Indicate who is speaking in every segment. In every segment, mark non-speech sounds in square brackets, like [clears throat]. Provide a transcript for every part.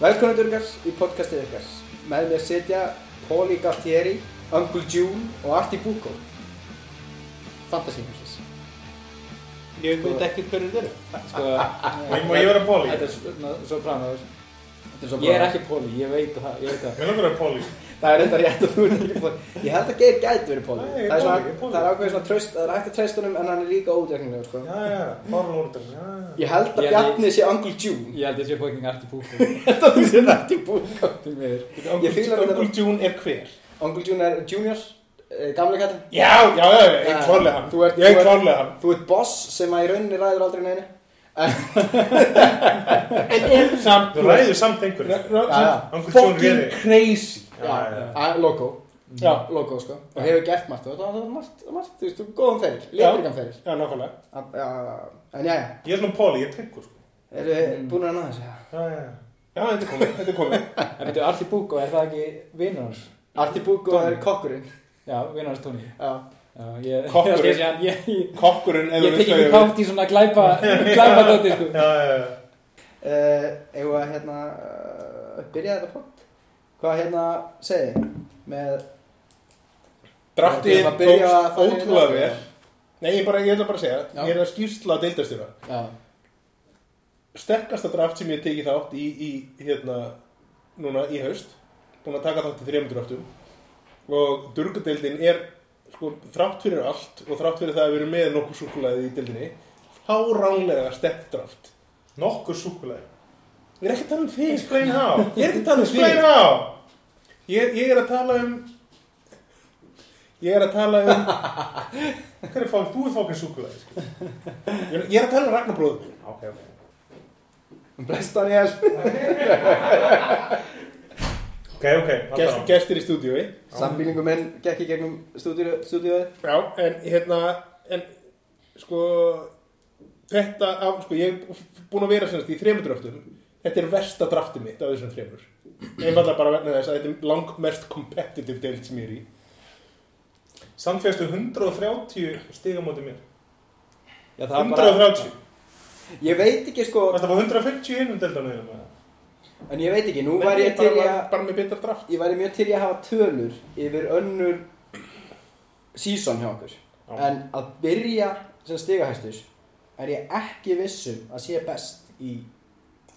Speaker 1: Velkomindur ykkar í podcastið ykkar. Með mér sitja Póli Galtieri, Uncle June og Arti Búko. Fantasy Houses.
Speaker 2: Ég veit ekki hverju þeir eru. Sko,
Speaker 3: Má- má ég vera Polly?
Speaker 2: Þetta er svona sopranos.
Speaker 1: Þetta er svo
Speaker 2: Ég er ekki Póli, ég veit það, ég veit það.
Speaker 3: Mér langar að vera Polly.
Speaker 1: Það er reyndar rétt að þú er ekki Póli. Ég held að Geir gæti verið Póli.
Speaker 3: Nei, ég er
Speaker 1: Það er
Speaker 3: Polly, ég
Speaker 1: svona,
Speaker 3: er Polly.
Speaker 1: það er ákveðið svona tröst, það er hægt að treysta honum en hann er líka ódreikningur, sko.
Speaker 3: Já, já, Power Order, já, já.
Speaker 1: Ég held
Speaker 2: Ég-
Speaker 1: að
Speaker 2: ég-
Speaker 1: Bjarni sé Uncle June.
Speaker 2: Ég held ég sé fucking arti
Speaker 1: [laughs]
Speaker 2: púku.
Speaker 1: Þetta þú sé Arti Búko.
Speaker 2: Til miður.
Speaker 1: Ég fíla þetta bara.
Speaker 3: Uncle June er hver?
Speaker 1: Uncle June er junior, eh, gamlega kallinn.
Speaker 3: Já, já, já, já,
Speaker 1: Já.
Speaker 3: ég klálega hann.
Speaker 1: Þú ert-
Speaker 3: Ég
Speaker 1: þú ert-
Speaker 3: klálega hann.
Speaker 1: Þú ert boss sem að í rauninni ræður aldrei neini.
Speaker 3: Samt, þú ræður samt einhverju.
Speaker 1: Já, já.
Speaker 3: Uncle June verði.
Speaker 4: crazy
Speaker 3: Já, já.
Speaker 1: Ah, Logo.
Speaker 3: Já,
Speaker 1: logo sko og hefur gert margt og það var margt, margt þú veist, þú góðan feril, litrikan feril
Speaker 3: já, nákvæmlega.
Speaker 1: Að- að- en jæja,
Speaker 3: Ég er svona Polly, ég er tryggur, sko.
Speaker 1: eru þið búin að ná þessu ja?
Speaker 3: Já, já, já. Já, þetta er komið, þetta er komið.
Speaker 2: En veitu, arti púku, er það ekki vinnur hans?
Speaker 1: Arti Búko er kokkurinn
Speaker 2: Já, vinnur hans Tóni.
Speaker 1: já,
Speaker 2: Já, ég,
Speaker 3: Kokkurinn.
Speaker 2: [laughs] ég, ég, ég, ég,
Speaker 3: Kokkurinn, ef
Speaker 2: ég
Speaker 3: þú
Speaker 2: tek ekki
Speaker 3: það.
Speaker 2: kátt í svona glæpa, glæpa dóti, sko.
Speaker 3: Já, já, já.
Speaker 1: uh, eigum við að hérna uh, byrja þetta pott hvað hérna segið þið? með
Speaker 3: Draftið
Speaker 1: Við erum að byrja að
Speaker 3: tókst
Speaker 1: fara hérna í
Speaker 3: ótrúlega
Speaker 1: draftið.
Speaker 3: vel. Nei, ég bara, ég ætla bara að segja,
Speaker 1: Já.
Speaker 3: ég er að skýrsla deildastjóra.
Speaker 1: já,
Speaker 3: Sterkasta draft sem ég hef tekið þátt í, í, hérna, núna í haust. Búin að taka þátt í 300 draftum. og durgadeildin er sko, þrátt fyrir allt og þrátt fyrir það að við erum með nokkuð súkulæði í deildinni þá ránlega steppdraft
Speaker 4: Nokkur súkulæði
Speaker 3: ég er ekki að tala um þig
Speaker 4: Explain how
Speaker 3: ég er ekki að tala um
Speaker 4: Explain
Speaker 3: þig
Speaker 4: how
Speaker 3: ég, ég er að tala um ég er að tala um
Speaker 4: Hvernig fáið þú fókin súkulæði? sko?
Speaker 3: ég er- ég er að tala um Ragnarbróðum
Speaker 4: Ok, ok
Speaker 1: Um bless Daniel
Speaker 4: Ok, ok, alltaf
Speaker 3: Gest,
Speaker 4: hann
Speaker 3: gestir í stúdíói
Speaker 1: sambílingu minn gekk í gegnum stúdíu- stúdíuðið
Speaker 3: já, en hérna en sko þetta, á, sko ég er búin að vera semst í þremur draftum þetta er versta draftið mitt af þessum þremur einfallega bara vegna þess að þetta er langmest competitive deild sem ég er í
Speaker 4: Samt fyrstu 130 stiga móti mér
Speaker 2: Já, það er bara...
Speaker 4: 130
Speaker 1: ég veit ekki sko
Speaker 4: Varst það fá 150 í hinnum deildanum þínum? eða?
Speaker 1: en ég veit ekki, nú væri ég til
Speaker 3: bara,
Speaker 1: í
Speaker 3: bara,
Speaker 1: að
Speaker 3: bara með betra draft
Speaker 1: ég væri mjög til í að hafa tölur yfir önnur season hjá okkur
Speaker 4: Já.
Speaker 1: en að byrja sem stigahæstus er ég ekki vissum að sé best í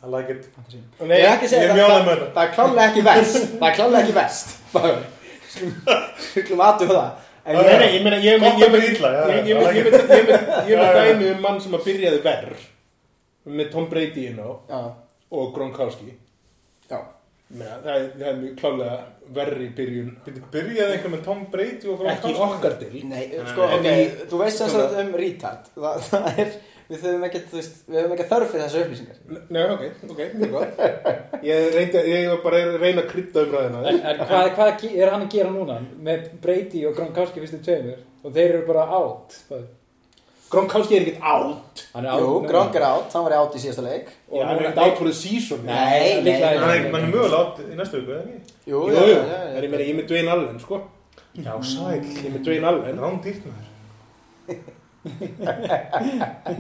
Speaker 4: I like it
Speaker 1: fantasy ég
Speaker 3: Nei,
Speaker 1: er ekki að
Speaker 4: ég
Speaker 1: segja
Speaker 4: er mjög
Speaker 1: það,
Speaker 4: ánægður
Speaker 1: það,
Speaker 4: með þetta.
Speaker 1: það er klálega ekki best það er klálega ekki best Bara- skulum aðtöfa það en
Speaker 3: Nei,
Speaker 1: ég,
Speaker 3: nei, ég meina, ég
Speaker 4: Gott
Speaker 3: meina,
Speaker 4: að byrja illa, já,
Speaker 3: ég-
Speaker 4: já,
Speaker 3: ég meina,
Speaker 4: já,
Speaker 3: ég meina, ég meina, ég meina
Speaker 4: Já, já.
Speaker 3: dæmi um mann sem að byrjaði verð með Tom Brady inn á
Speaker 1: já,
Speaker 3: og Gronkowski.
Speaker 1: já,
Speaker 3: Meina, það, er- það er mjög klálega verri byrjun,
Speaker 4: Byrju- Byrjaði einhver með Tom Brady og
Speaker 3: ekki í okkar til.
Speaker 1: nei, sko,
Speaker 3: nei,
Speaker 1: ok
Speaker 3: nei. Sko,
Speaker 1: þú veist sem sagt um retard það, það er, við höfum ekkert, þú veist, við höfum ekkert þörf fyrir þessu upplýsingar
Speaker 3: Nei, ok, ok, mjög gott. Ég reyndi, ég var bara að reyna að krydda umræðina.
Speaker 2: En, en hvað, hvað ge- er hann að gera núna með Brady og Gronkowski fyrstu tveimur og þeir eru bara átt hann
Speaker 3: Gronkowski er ekkert átt.
Speaker 2: er átt
Speaker 1: jú,
Speaker 2: núna.
Speaker 1: Gronk er átt, hann var átt í síðasta leik
Speaker 3: Já, hann er ekkert átt fyrir season.
Speaker 1: Nei. nei,
Speaker 4: Hann er hann er mögulega átt í næstu viku, eða ekki?
Speaker 1: jú,
Speaker 3: Jú, jú, það er meira, ég er með Dwayne Allen, sko.
Speaker 4: Já, sæl
Speaker 3: Ég er með Dwayne Allen.
Speaker 4: Rán dýrt maður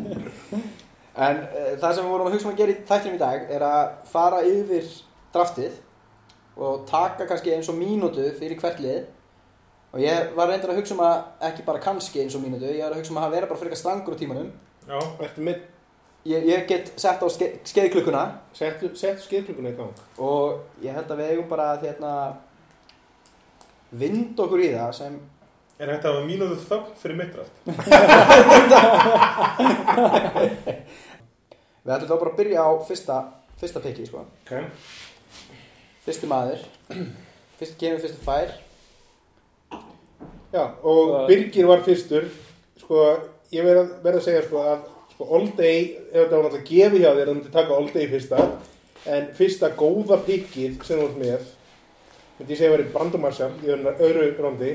Speaker 1: En uh, það sem við vorum að hugsa um að gera í þættinum í dag er að fara yfir draftið og taka kannski eins og mínútu fyrir hvert lið og ég var reyndar að hugsa um að ekki bara kannski eins og mínútu, ég var að hugsa um að vera bara frekar strangur á tímanum.
Speaker 4: Já,
Speaker 3: Ertu með,
Speaker 1: Ég, ég get sett á ske, skeiðklukkuna
Speaker 3: settu set skipninguna í gang.
Speaker 1: og ég held að við eigum bara að hérna, vind okkur í það sem
Speaker 4: er hægt að hafa mínútu þögn fyrir mitt rætt
Speaker 1: við ætlum þá bara að byrja á fyrsta, fyrsta piki sko.
Speaker 4: Ok
Speaker 1: Fyrsti maður, [clears throat] fyrst kemur, fyrstu fær.
Speaker 3: Já, og
Speaker 2: Og-
Speaker 3: Birgir var fyrstur sko, ég verð að, verð að segja sko að sko, All Day, ef þetta var náttúrulega gefið hjá þér, þú myndir taka All Day fyrsta en fyrsta góða pikkið sem þú ert með myndi ég segja að verið Brandon Marshall í öðru- öðru rondi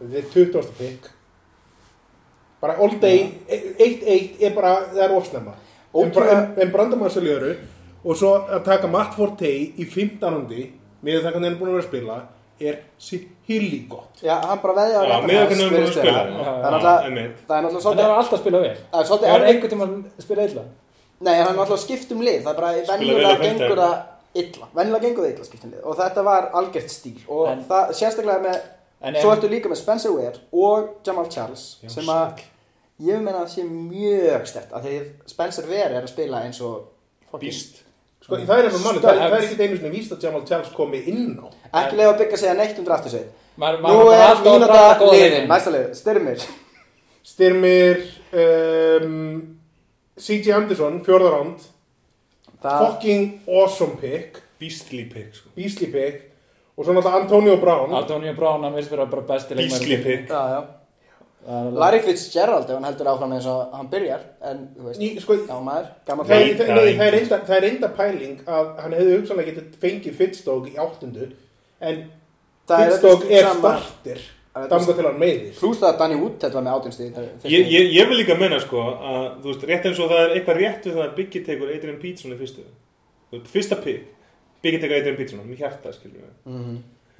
Speaker 3: þetta er 20. pikk bara All Day 1-1 er bara, það er ofsnemma en,
Speaker 1: Ótrúlega-
Speaker 3: bra- en, en Brandon Marshall í öðru og svo að taka Matt Forte í 15. rondi með það hvernig hann er búin að vera að spila er sér hilli gott
Speaker 1: Já, hann bara veðja
Speaker 4: Já, með okkur nefnum að spila hérna.
Speaker 1: Það er náttúrulega-
Speaker 4: einmitt.
Speaker 1: Það er náttúrulega
Speaker 2: hann
Speaker 1: svolítið
Speaker 2: er alltaf að spila vel
Speaker 1: Það er svolítið
Speaker 2: það er
Speaker 1: erfitt
Speaker 2: einhvern tímann að spila illa
Speaker 1: Nei, hann er alltaf skipt um lið Það er bara
Speaker 4: vel
Speaker 1: venjulega
Speaker 4: á fimmtudaginn.
Speaker 1: gengur að illa, venjulega gengur það illa skiptum við og þetta var algjört stíl og
Speaker 2: En-
Speaker 1: það sérstaklega með,
Speaker 2: En
Speaker 1: svo
Speaker 2: ef-
Speaker 1: ertu líka með Spencer Ware og Jamal Charles
Speaker 5: Já,
Speaker 1: sem að ég meina að sé mjög stert að því Spencer Ware er að spila eins og fucking-
Speaker 5: Býst.
Speaker 3: Sko, það er eitthvað manni, það, er-
Speaker 2: Stöðt.
Speaker 3: það er ekki einu sinni víst að Jamal Charles komi inn á.
Speaker 1: ekki leiða að byggja segja neitt um draftu sig
Speaker 2: maður
Speaker 1: nú
Speaker 2: maður bara
Speaker 1: er
Speaker 2: alltaf að draga
Speaker 1: mínúta
Speaker 2: góða
Speaker 1: liðin,
Speaker 2: leikmenn.
Speaker 1: næsta lið, styrmir
Speaker 3: Styrmir, um, C.J. Anderson, fjórðaránd,
Speaker 1: það,
Speaker 3: fucking awesome pick,
Speaker 5: Beastly pick, sko.
Speaker 3: beastly pick, og svo náttúrulega Antonio Brown.
Speaker 2: Antonio Brown, hann virðist vera bara besti
Speaker 5: Beastly pick.
Speaker 1: já, já
Speaker 2: Það er-
Speaker 1: Larry Fitzgerald ef hann heldur áfram eins og hann byrjar en, þú veist,
Speaker 3: Ný, sko,
Speaker 1: já maður, gaman
Speaker 3: það,
Speaker 1: það
Speaker 3: það,
Speaker 5: Nei.
Speaker 3: nei, það, er enda, það er enda pæling að hann hefði hugsanlega getið fengið Fittstók í áttundu, en Fittstók er startir, damga til hann meiðist.
Speaker 1: Plús það að Danny Wood þetta var með átjónstíð
Speaker 5: Ég, ég, ég vil líka menna sko að þú veist, rétt eins og það er eitthvað rétt við það að Biggie tekur Adrian Peterson í fyrstu Þú veist, fyrsta pick, Biggie tekur Adrian Peterson mér hjarta, skiljum við
Speaker 1: Mhm.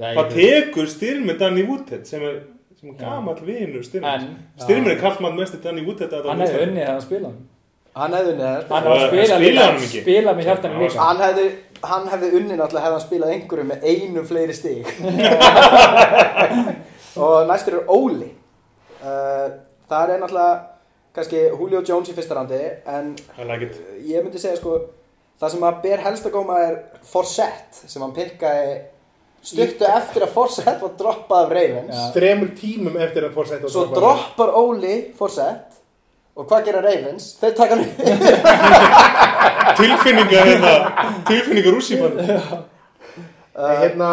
Speaker 2: Nei,
Speaker 5: Það tekur styrmi Danny Woodhead sem er, sem er
Speaker 2: Já.
Speaker 5: gamall vinur styrmi
Speaker 2: En
Speaker 5: Styrmi er kallmann mest Danny Woodhead að það
Speaker 2: hann hefði unnið þegar hann spilað
Speaker 1: Hann hefði unnið þér
Speaker 2: Hann hefði
Speaker 5: Það-
Speaker 2: spilað
Speaker 5: spilaði
Speaker 2: líka,
Speaker 5: hann ekki?
Speaker 2: spilað með hjartanum
Speaker 5: Já,
Speaker 2: líka
Speaker 1: Hann hefði, hann hefði unnið náttúrulega hefði hann spilað einhverju með einu fleiri stíg Og næstur er Óli uh, Það er náttúrulega kannski Julio Jones í fyrsta randi En
Speaker 5: I like it
Speaker 1: ég myndi segja sko Það sem að ber helst að góma er Forsett sem hann pikkaði stuttu eftir að Forsett var droppað af Ravens
Speaker 2: Já.
Speaker 3: Þremur tímum eftir að Forsett
Speaker 1: Svo droppar Óli Forsett Og hvað gera Ravens? Þeir taka hann upp
Speaker 5: Tilfinningar hérna, tilfinningar rússimann
Speaker 2: [laughs]
Speaker 1: Eh,
Speaker 3: Nei, hérna,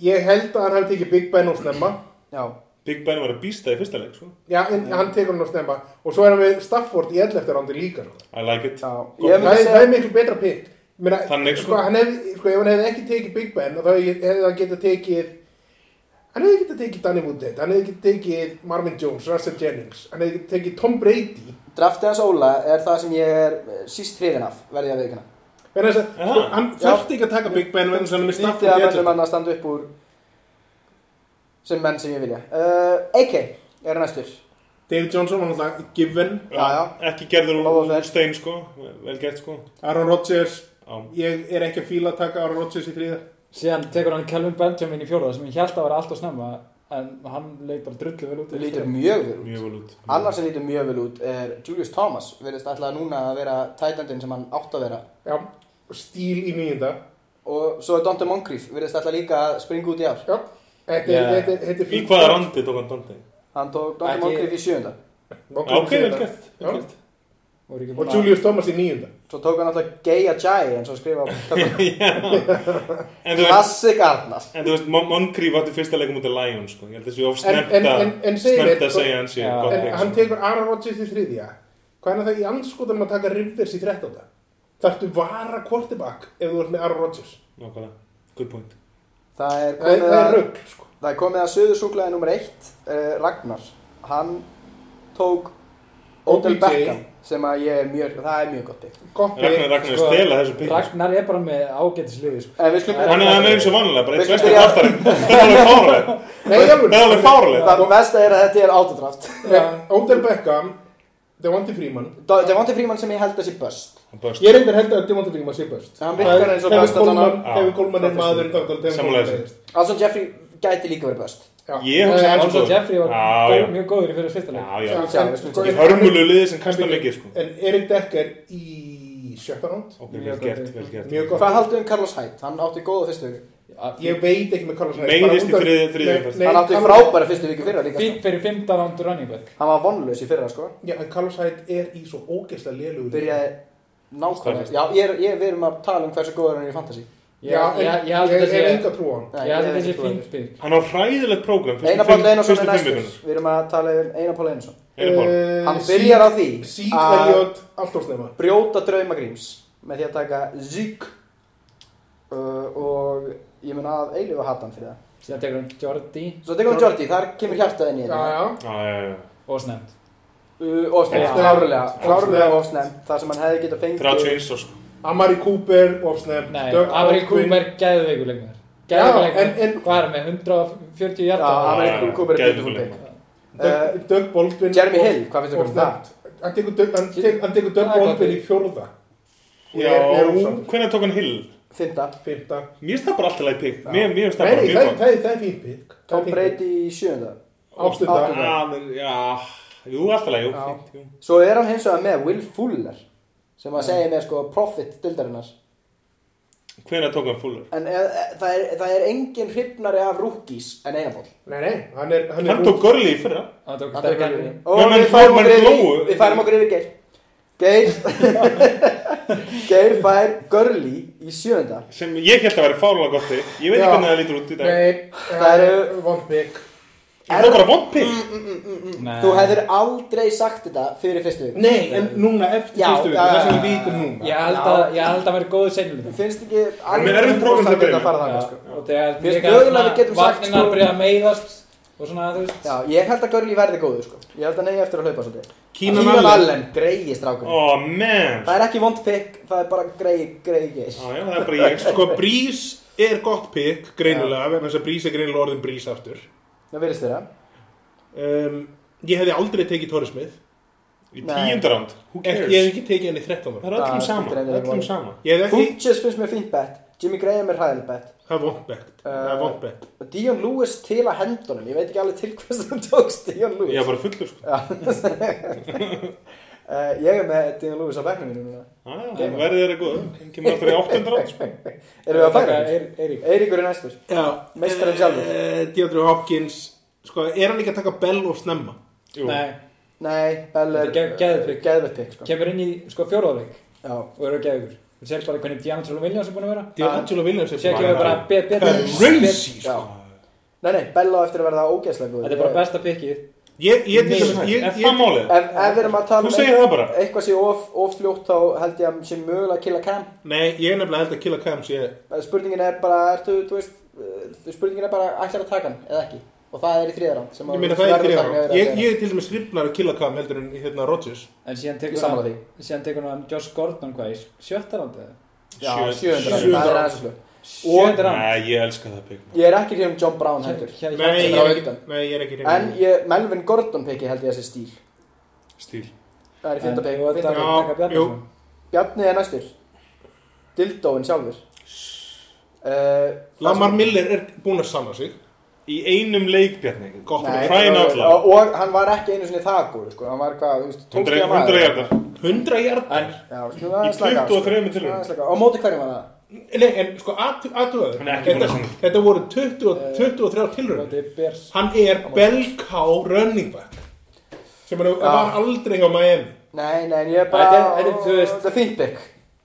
Speaker 3: ég held að hann hefði tekið Big Ben og snemma
Speaker 1: Já,
Speaker 5: Big Ben var að býsta í fyrsta leik sko
Speaker 3: Já, en hann tekur hann og snemma Og svo er hann við Stafford í 11. rándi líka sko.
Speaker 5: I like it
Speaker 1: já
Speaker 3: það,
Speaker 1: Ég myndi
Speaker 3: er- það
Speaker 1: segja
Speaker 3: er miklu betra pick Meina,
Speaker 5: Þannig,
Speaker 3: sko,
Speaker 5: sko.
Speaker 3: hann hefði, sko, ef hann hefði ekki tekið Big Ben og þá hefði hefði hann getað tekið hann hefði getað tekið Danny Woodhead hann hefði getað tekið Marvin Jones, Russell Jennings hann hefði getað tekið Tom Brady
Speaker 1: Draftið hans Óla er það sem ég er eh, síst hrifin af, verði ég að veikina
Speaker 3: Meina, þess, að, sko,
Speaker 5: Aha.
Speaker 3: hann
Speaker 1: Já.
Speaker 3: þurfti ekki að taka Big Ben vegna þess að hann er með um
Speaker 1: Lítið að verðum
Speaker 3: Stafford
Speaker 1: hann að standa upp úr sem menn sem ég vilja uh, AK er næstur
Speaker 3: David Johnson var náttúrulega given
Speaker 1: Já, já.
Speaker 5: Ekki gerður
Speaker 1: Lofa
Speaker 5: úr
Speaker 1: þér.
Speaker 5: stein sko, vel gert sko
Speaker 3: Aaron Rodgers,
Speaker 5: Já,
Speaker 3: ég er ekki að fíla að taka Aaron Rodgers í þriða
Speaker 2: Síðan tekur hann Calvin Benjamin í fjóraða sem ég held að vera alltaf snemma En hann leit bara drullu vel út í
Speaker 1: sem lítur
Speaker 2: fyrra.
Speaker 1: mjög vel út
Speaker 5: mjög vel út
Speaker 1: annar sem lítur mjög vel út er Julius Thomas verðist alltaf núna að vera tætandinn sem hann átt að vera
Speaker 3: Já, stíl í nýjunda
Speaker 1: og svo er Dante Moncrief verðist alltaf líka að springa út í ár
Speaker 3: Já, þetta
Speaker 2: Já.
Speaker 3: er- þetta er- þetta er
Speaker 5: Í hvaða randi tók hann Dante?
Speaker 1: hann tók Dante
Speaker 2: Ekki-
Speaker 1: Moncrief í sjöunda
Speaker 3: Nokkuð
Speaker 5: Ok,
Speaker 3: sem
Speaker 5: vel
Speaker 3: þetta.
Speaker 5: gert,
Speaker 3: Já.
Speaker 5: vel gert
Speaker 2: Voru ekki búin
Speaker 3: Og
Speaker 2: að-
Speaker 3: Julius Thomas í nýjunda
Speaker 1: svo tók hann alltaf Gay Ajay eins og skrifa á töflunum.
Speaker 5: En þú veist,
Speaker 1: Classic Arnars
Speaker 5: en þú veist Mon- Moncrief átti fyrsta leikum út af Lions sko. Ég held að þessi of
Speaker 3: En-
Speaker 5: snemmt
Speaker 3: en-
Speaker 5: að
Speaker 3: en- en segir
Speaker 5: snemmt
Speaker 3: mér,
Speaker 5: að segja hans ég
Speaker 2: Já.
Speaker 5: gott
Speaker 3: En
Speaker 5: leik,
Speaker 3: hann
Speaker 5: sko.
Speaker 3: tekur Aaron Rodgers í þriðja Hvað er það í anskotanum að taka Rivers í þrettánda? Þarftu vara quarterback ef þú ert með Aaron Rodgers
Speaker 5: Nákvæmlega, good point
Speaker 1: það er
Speaker 3: Það er,
Speaker 1: komið
Speaker 3: það er
Speaker 1: að
Speaker 3: rugg sko.
Speaker 1: Það er komið að söðursúklaði nummer eitt, uh, Ragnar. Hann tók Odell
Speaker 3: OBJ.
Speaker 1: Beckham sem að ég er mjög, það er mjög gott bygg.
Speaker 3: Gott
Speaker 5: Ragnar
Speaker 3: pick.
Speaker 5: Ragnar er að stela þessu pík
Speaker 2: Sko, Ragnar er bara með ágætisliði sko.
Speaker 1: En við skulum,
Speaker 5: Hann er hann er eins og vanlega, bara eitt
Speaker 1: Veistu
Speaker 5: vestu
Speaker 1: byrja-
Speaker 5: kraftarinn Þetta er alveg fárlega
Speaker 3: Nei,
Speaker 5: Þetta er alveg
Speaker 3: alveg
Speaker 5: fárlega
Speaker 1: það besta er að þetta er autodraft.
Speaker 3: Odell Beckham Devonti Freeman
Speaker 1: Devonti Fríman sem ég held að sé bust.
Speaker 3: Ég reyndar held að Devonti Freeman sé best
Speaker 1: Hann virkar eins og best allan á.
Speaker 5: Já.
Speaker 3: Kevin Coleman er
Speaker 1: Já.
Speaker 3: maður Devin
Speaker 5: Sammála
Speaker 3: Coleman er
Speaker 5: þessu.
Speaker 3: best.
Speaker 1: Alson Jeffrey gæti líka verið bust.
Speaker 3: Já.
Speaker 5: Ég hugsa
Speaker 3: Eh,
Speaker 5: hann
Speaker 2: Alonso
Speaker 5: sko
Speaker 2: Jeffrey var
Speaker 5: Já,
Speaker 2: góð,
Speaker 5: já.
Speaker 2: mjög góður í fyrir fyrsta leik
Speaker 5: Já, já,
Speaker 1: Já, við
Speaker 3: Sko,
Speaker 1: skulum
Speaker 5: Í
Speaker 1: sjá.
Speaker 5: hörmulu liði sem kasta mikið sko
Speaker 3: En Erik Dekker í sjötta ránd
Speaker 5: Ok,
Speaker 2: Mjög
Speaker 5: vel
Speaker 2: gott
Speaker 5: gert,
Speaker 2: leik.
Speaker 5: vel gert
Speaker 3: Mjög gott.
Speaker 1: Hvað haldum um Carlos Hyde? Hann átti góða fyrstu viku.
Speaker 3: Ég veit ekki með Carlos Hyde, bara
Speaker 5: Meiðist í
Speaker 3: út af-
Speaker 5: þriðju- þriðju
Speaker 3: Nei,
Speaker 5: umferð.
Speaker 3: nei,
Speaker 1: Hann átti
Speaker 3: Carlos-
Speaker 1: frábæra fyrstu viku fyrra líka. sko.
Speaker 2: Fýtt fyrir 15 rándur running back
Speaker 1: Hann var vonlaus í fyrra sko.
Speaker 3: Já, en Carlos Hyde er í svo ógeðslega lélugur
Speaker 1: Byrjaði nákvæmlega. Já, ég, er- ég við erum að tala um hversu góður hann er í fantasy.
Speaker 2: Ég, ég, ég, ég held að
Speaker 3: ég, ég,
Speaker 2: þetta
Speaker 3: er
Speaker 2: sé-
Speaker 3: enga trú á hann
Speaker 1: Nei,
Speaker 2: ég held að
Speaker 1: er
Speaker 2: þetta sé
Speaker 1: ekki góður.
Speaker 2: fínt pík
Speaker 5: Hann á hræðilegt prógram
Speaker 1: Einar Páll Einarsson er
Speaker 5: Fyrstu fimm
Speaker 1: næstur
Speaker 5: vikunar
Speaker 1: Við erum að tala um Einar Páll Einarsson
Speaker 5: Einar Pál
Speaker 3: Eh,
Speaker 1: Hann
Speaker 3: Zeke-
Speaker 1: byrjar á því
Speaker 3: Zeke
Speaker 1: að-
Speaker 3: Elliot, allt á snemma
Speaker 1: Brjóta draumagríms með því að taka Zík uh, og ég mun að eilu að hata hann fyrir það
Speaker 2: Síðan tekur hann Jordi
Speaker 1: Svo tekum við Jordi, þar kemur hjartað inn í
Speaker 3: Já,
Speaker 1: þetta
Speaker 3: já,
Speaker 5: Já, já, já, já.
Speaker 2: og snemt
Speaker 1: uh, og snemt,
Speaker 2: Já.
Speaker 1: klárlega, klárlega
Speaker 3: Snemt.
Speaker 1: og snemt þar sem hann hefði getað fengið
Speaker 5: 31 og sko
Speaker 3: Amari Cooper, of snem
Speaker 2: Nei, Amari Cooper gæðveikur leikmaður
Speaker 3: Já,
Speaker 2: Gæðveikur
Speaker 3: en,
Speaker 2: leikmaður
Speaker 3: en
Speaker 2: Hvað er hann með 140
Speaker 1: Já,
Speaker 2: hjarta?
Speaker 1: Amari
Speaker 5: Já, já,
Speaker 1: Cooper er
Speaker 5: geðveikur
Speaker 1: beautiful
Speaker 5: leikmaður.
Speaker 1: pick
Speaker 3: Doug- Doug Baldwin
Speaker 1: Eh, Jeremy
Speaker 3: of-
Speaker 1: Hill, hvað finnst þú
Speaker 3: of
Speaker 1: um
Speaker 3: snem.
Speaker 1: það?
Speaker 3: Hann tekur Doug- hann tek- hann tekur Doug
Speaker 2: Það er gott
Speaker 3: Baldwin í
Speaker 2: fyrir.
Speaker 3: fjórða
Speaker 5: Já,
Speaker 3: Er- er hún-
Speaker 5: hvernig tók hann Hill?
Speaker 1: fynda
Speaker 3: fymta
Speaker 4: Mér finnst það bara alltaf leið pikk.
Speaker 1: Já.
Speaker 4: Mér mér finnst það bara
Speaker 3: Nei, það
Speaker 4: mjög
Speaker 3: er-
Speaker 4: gott.
Speaker 3: það er- það er fínt pikk
Speaker 1: Tom Brady í sjönda
Speaker 3: Áttunda
Speaker 1: Áttunda.
Speaker 4: Já, menn, já, jú, alltaf leið, jú,
Speaker 1: Já.
Speaker 4: fínt, jú.
Speaker 1: Svo er hann hins vegar með Will Fuller sem að segja mér sko profit dildarinnar
Speaker 4: Hvenær tók hann Fuller?
Speaker 1: en e, e, það, er, það er engin hrifnari af rookies en Einaból
Speaker 3: Nei, nei, hann er Hann er
Speaker 4: Hann tók Gurley í fyrra.
Speaker 2: Hann tók Derrick Henry.
Speaker 1: og
Speaker 4: Menn, menn,
Speaker 1: við færum
Speaker 4: menn
Speaker 1: okkur yfir
Speaker 4: glóu.
Speaker 1: við færum okkur yfir Geir Geir [laughs] Geir fær Gurley í sjönda
Speaker 4: Sem ég held að vera fárlega gott þig. Ég veit
Speaker 3: Já.
Speaker 4: ekki hvernig það lítur út í dag.
Speaker 3: Nei,
Speaker 1: Það eru-
Speaker 3: vond pikk
Speaker 4: Það er bara vond
Speaker 1: Mm,
Speaker 3: Mm.
Speaker 4: pikk.
Speaker 2: Nei.
Speaker 1: Þú hefðir aldrei sagt þetta fyrir fyrstu viku
Speaker 3: Nei, en núna eftir
Speaker 1: Já,
Speaker 3: fyrstu viku,
Speaker 1: já,
Speaker 3: það
Speaker 1: já,
Speaker 3: sem við
Speaker 1: já,
Speaker 3: vítum núna
Speaker 2: Ég held að- ég held að vera góðu seinum
Speaker 1: Finnst ekki
Speaker 4: er með erfitt prógramm til að
Speaker 1: ósanngjarnt
Speaker 4: byrja
Speaker 1: að fara
Speaker 2: Já,
Speaker 1: þannig sko
Speaker 2: og þegar
Speaker 1: Mér
Speaker 2: líka
Speaker 1: finnst mögulega
Speaker 2: svona
Speaker 1: við getum sagt,
Speaker 2: vagnirnar
Speaker 1: sko-
Speaker 2: byrja að meiðast og svona þú veist
Speaker 1: Já, ég held að Gurley verði góður sko Ég held að neyja eftir að hlaupa svolítið
Speaker 3: Keenan
Speaker 1: Keenan
Speaker 3: Allen.
Speaker 1: Allen, greiði strákur
Speaker 4: Ó, Oh, man.
Speaker 1: Það er ekki vond pick, það er bara greiði, greiði geir
Speaker 4: Já, já, það er bara ég, sko.
Speaker 3: Sko, Brís er gott pikk, greinilega vegna þess að Brís er greinilega orðin Brís aftur
Speaker 1: Það virðist þeirra
Speaker 3: um, Ég hefði aldrei tekið Torres Smith
Speaker 4: Í
Speaker 1: Nei.
Speaker 4: tíundar ánd. Who
Speaker 3: Ég
Speaker 4: cares?
Speaker 3: ég hefði ekki tekið hann í 13
Speaker 4: Það
Speaker 3: ára
Speaker 4: er öllum
Speaker 1: Það
Speaker 4: sama.
Speaker 1: skiptir
Speaker 4: Það
Speaker 1: engu
Speaker 4: er öllum
Speaker 1: máli.
Speaker 4: sama.
Speaker 3: Ég hefði ekki,
Speaker 1: Funches finnst mér fínt bet Jimmy Graham er hræðileg bet
Speaker 3: það er vond bekk
Speaker 1: Uh,
Speaker 3: Það er vond bekk
Speaker 1: Og Dion Lewis til að hendunum Ég veit ekki alveg til hvers það tókst Dion Lewis
Speaker 4: Ég er bara fullur, sko.
Speaker 1: Eh, Ég er með Dion Lewis á bekknum mínu núna
Speaker 4: Já, já, það verður þeirra góð. Það kemur aftur í áttundar ánd, sko.
Speaker 1: [laughs] Erum við að færa þessu?
Speaker 2: Eirík Eirík
Speaker 1: Eiríkur er næstur
Speaker 3: Já,
Speaker 1: Meistarinn sjálfur.
Speaker 3: eh, Deandre Hopkins, sko, er hann ekki að taka Bell of snemma?
Speaker 4: Jú.
Speaker 2: Nei,
Speaker 1: Nei, Bell er
Speaker 2: Þetta er ge- geðveikt pick.
Speaker 1: Geðveikt pick, sko
Speaker 2: kemur inn í sko fjóruðarleik
Speaker 1: Já
Speaker 2: og eru að geða ykkur Þú sér bara hvernig D'Angelo Williams er búin að vera
Speaker 3: Deandre Williams er
Speaker 2: Sér ekki að við bara be- be- be-
Speaker 3: Crazy,
Speaker 1: Já.
Speaker 3: sko
Speaker 1: Nei, nei, Bell á eftir að verða ógeðslega góður
Speaker 2: Þetta er bara besta pikkið
Speaker 3: Ég, ég, til
Speaker 2: Nei,
Speaker 3: dæmis- ég,
Speaker 4: Er það
Speaker 3: ég,
Speaker 4: málið?
Speaker 1: Ef, ef við erum að tala um
Speaker 4: Þú segir það bara.
Speaker 1: eitthvað sé of, of fljótt þá held ég að sem mögulega að killa Cam
Speaker 3: nei, ég er nefnilega held að Killa Cam sé
Speaker 1: Eh, spurningin er bara, ertu, þú veist eh, spurningin er bara, ætlar að taka hann eða ekki og það er í þriðarand sem
Speaker 3: Ég
Speaker 1: að-
Speaker 3: meina það er
Speaker 1: verður
Speaker 3: þrjá
Speaker 1: að taka hann
Speaker 3: Ég,
Speaker 1: eða
Speaker 3: ég er til dæmis hrifnar að killa kam heldur en hérna Rodgers
Speaker 2: En síðan
Speaker 1: Ég
Speaker 2: tekur
Speaker 1: sammála
Speaker 2: hann Síðan tekur hann Josh Gordon hvað í sjöttarandi
Speaker 1: Já,
Speaker 4: Sjö-
Speaker 1: sjöundra
Speaker 3: sjö-
Speaker 1: það er aðeins fljótt.
Speaker 2: Sjöttarandi
Speaker 4: Nei, ég elska það pikk.
Speaker 1: Ég er ekki hrifin um John Brown heldur
Speaker 3: Nei, ég
Speaker 1: er
Speaker 3: er
Speaker 1: á
Speaker 3: ekki,
Speaker 1: undan.
Speaker 3: nei, ég er ekki hrifnar
Speaker 1: en ég, Melvin Gordon peki held ég að sé stíl
Speaker 4: Stíl.
Speaker 1: það er í fynda
Speaker 2: En þú ert að
Speaker 1: peki
Speaker 3: Já,
Speaker 2: taka
Speaker 3: jú.
Speaker 2: Bjarnason
Speaker 1: Bjarni er næstur Dildóin sjálfur uh,
Speaker 3: Lamar Miller er búinn að sanna sig
Speaker 4: Í einum leikbjarni.
Speaker 3: Gott.
Speaker 1: Nei,
Speaker 4: Crying out
Speaker 1: og,
Speaker 4: loud.
Speaker 1: og, og hann var ekki einu sinni það góður sko. hann var hvað, þú veist, 12
Speaker 4: 100
Speaker 1: stiga maður.
Speaker 4: 100 hjartar.
Speaker 3: 100
Speaker 2: En
Speaker 3: hjartar
Speaker 1: Já, skulum aðeins
Speaker 4: Í
Speaker 1: slaka á,
Speaker 4: 23
Speaker 1: sko.
Speaker 4: tilraunum.
Speaker 1: Aðeins slaka á. Á móti hverjum var það?
Speaker 3: Nei, en sko aðtöðu
Speaker 4: Hann er ekki búinn
Speaker 3: þetta,
Speaker 4: að sanna.
Speaker 3: þetta voru 20,
Speaker 1: Eh.
Speaker 3: og- 23 tilraun
Speaker 2: Þetta er Bers
Speaker 3: Hann er Belká running back sem hann var aldrei hjá Miami
Speaker 1: Nei, nei, ég er bara
Speaker 2: Þetta er- þetta er, þú veist-
Speaker 1: Þetta er fínt bygg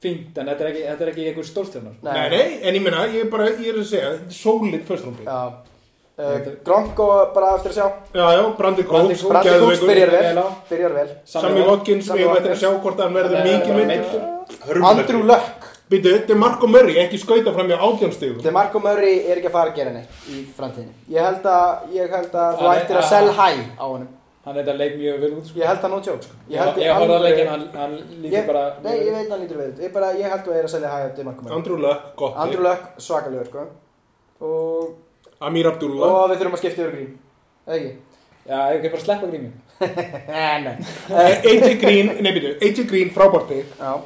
Speaker 2: Fínt En þetta er ekki- þetta er ekki einhver sko. stórstjarnar
Speaker 3: Nei, nei, en ég meina, ég er bara, ég er að segja þetta er solid first round pick
Speaker 1: Já uh, Gronko bara eftir að sjá
Speaker 3: Já, já,
Speaker 2: Brandon
Speaker 3: Brandi Cooks,
Speaker 2: Cooks,
Speaker 1: Brandi Kúks
Speaker 3: geðveikur.
Speaker 1: byrjar
Speaker 2: Vel
Speaker 1: vel
Speaker 2: á.
Speaker 1: Byrjar vel
Speaker 3: Sammy Watkins,
Speaker 1: Sammy
Speaker 3: við erum eftir að
Speaker 1: Watkins.
Speaker 3: sjá hvort hann verður
Speaker 2: Hann er
Speaker 3: mikið
Speaker 2: bara
Speaker 3: myndur
Speaker 1: Andrew Luck
Speaker 3: Býtu, þetta er Marko Murray, ekki skauta fram í átjónstegum.
Speaker 1: DeMarco Murray er ekki að fara að gera neitt í framtíðinni Ég held að, ég held að þú
Speaker 2: Hann er- ah.
Speaker 1: ættir að
Speaker 2: að-
Speaker 1: sell high á honum
Speaker 2: Hann er þetta leik mjög vel út sko.
Speaker 1: Ég held að no joke sko.
Speaker 2: Ég horfði að leikin Hann hann lítur
Speaker 1: Ég-
Speaker 2: bara
Speaker 1: Nei, ég veit að hann lítur við Ég bara, ég held að ég er að selja high á DeMarco Murray
Speaker 3: Andrew Luck, gott.
Speaker 1: Andrew Luck, svakalegur sko Og
Speaker 3: Amir Abdullah.
Speaker 1: Og við þurfum að skipta yfir grín Eða ekki?
Speaker 2: Já, ég ekki bara að sleppa grími
Speaker 1: [laughs] Nei, nei
Speaker 3: Eh, AJ Green, nei býtu, AJ Green, frábærti.
Speaker 1: Já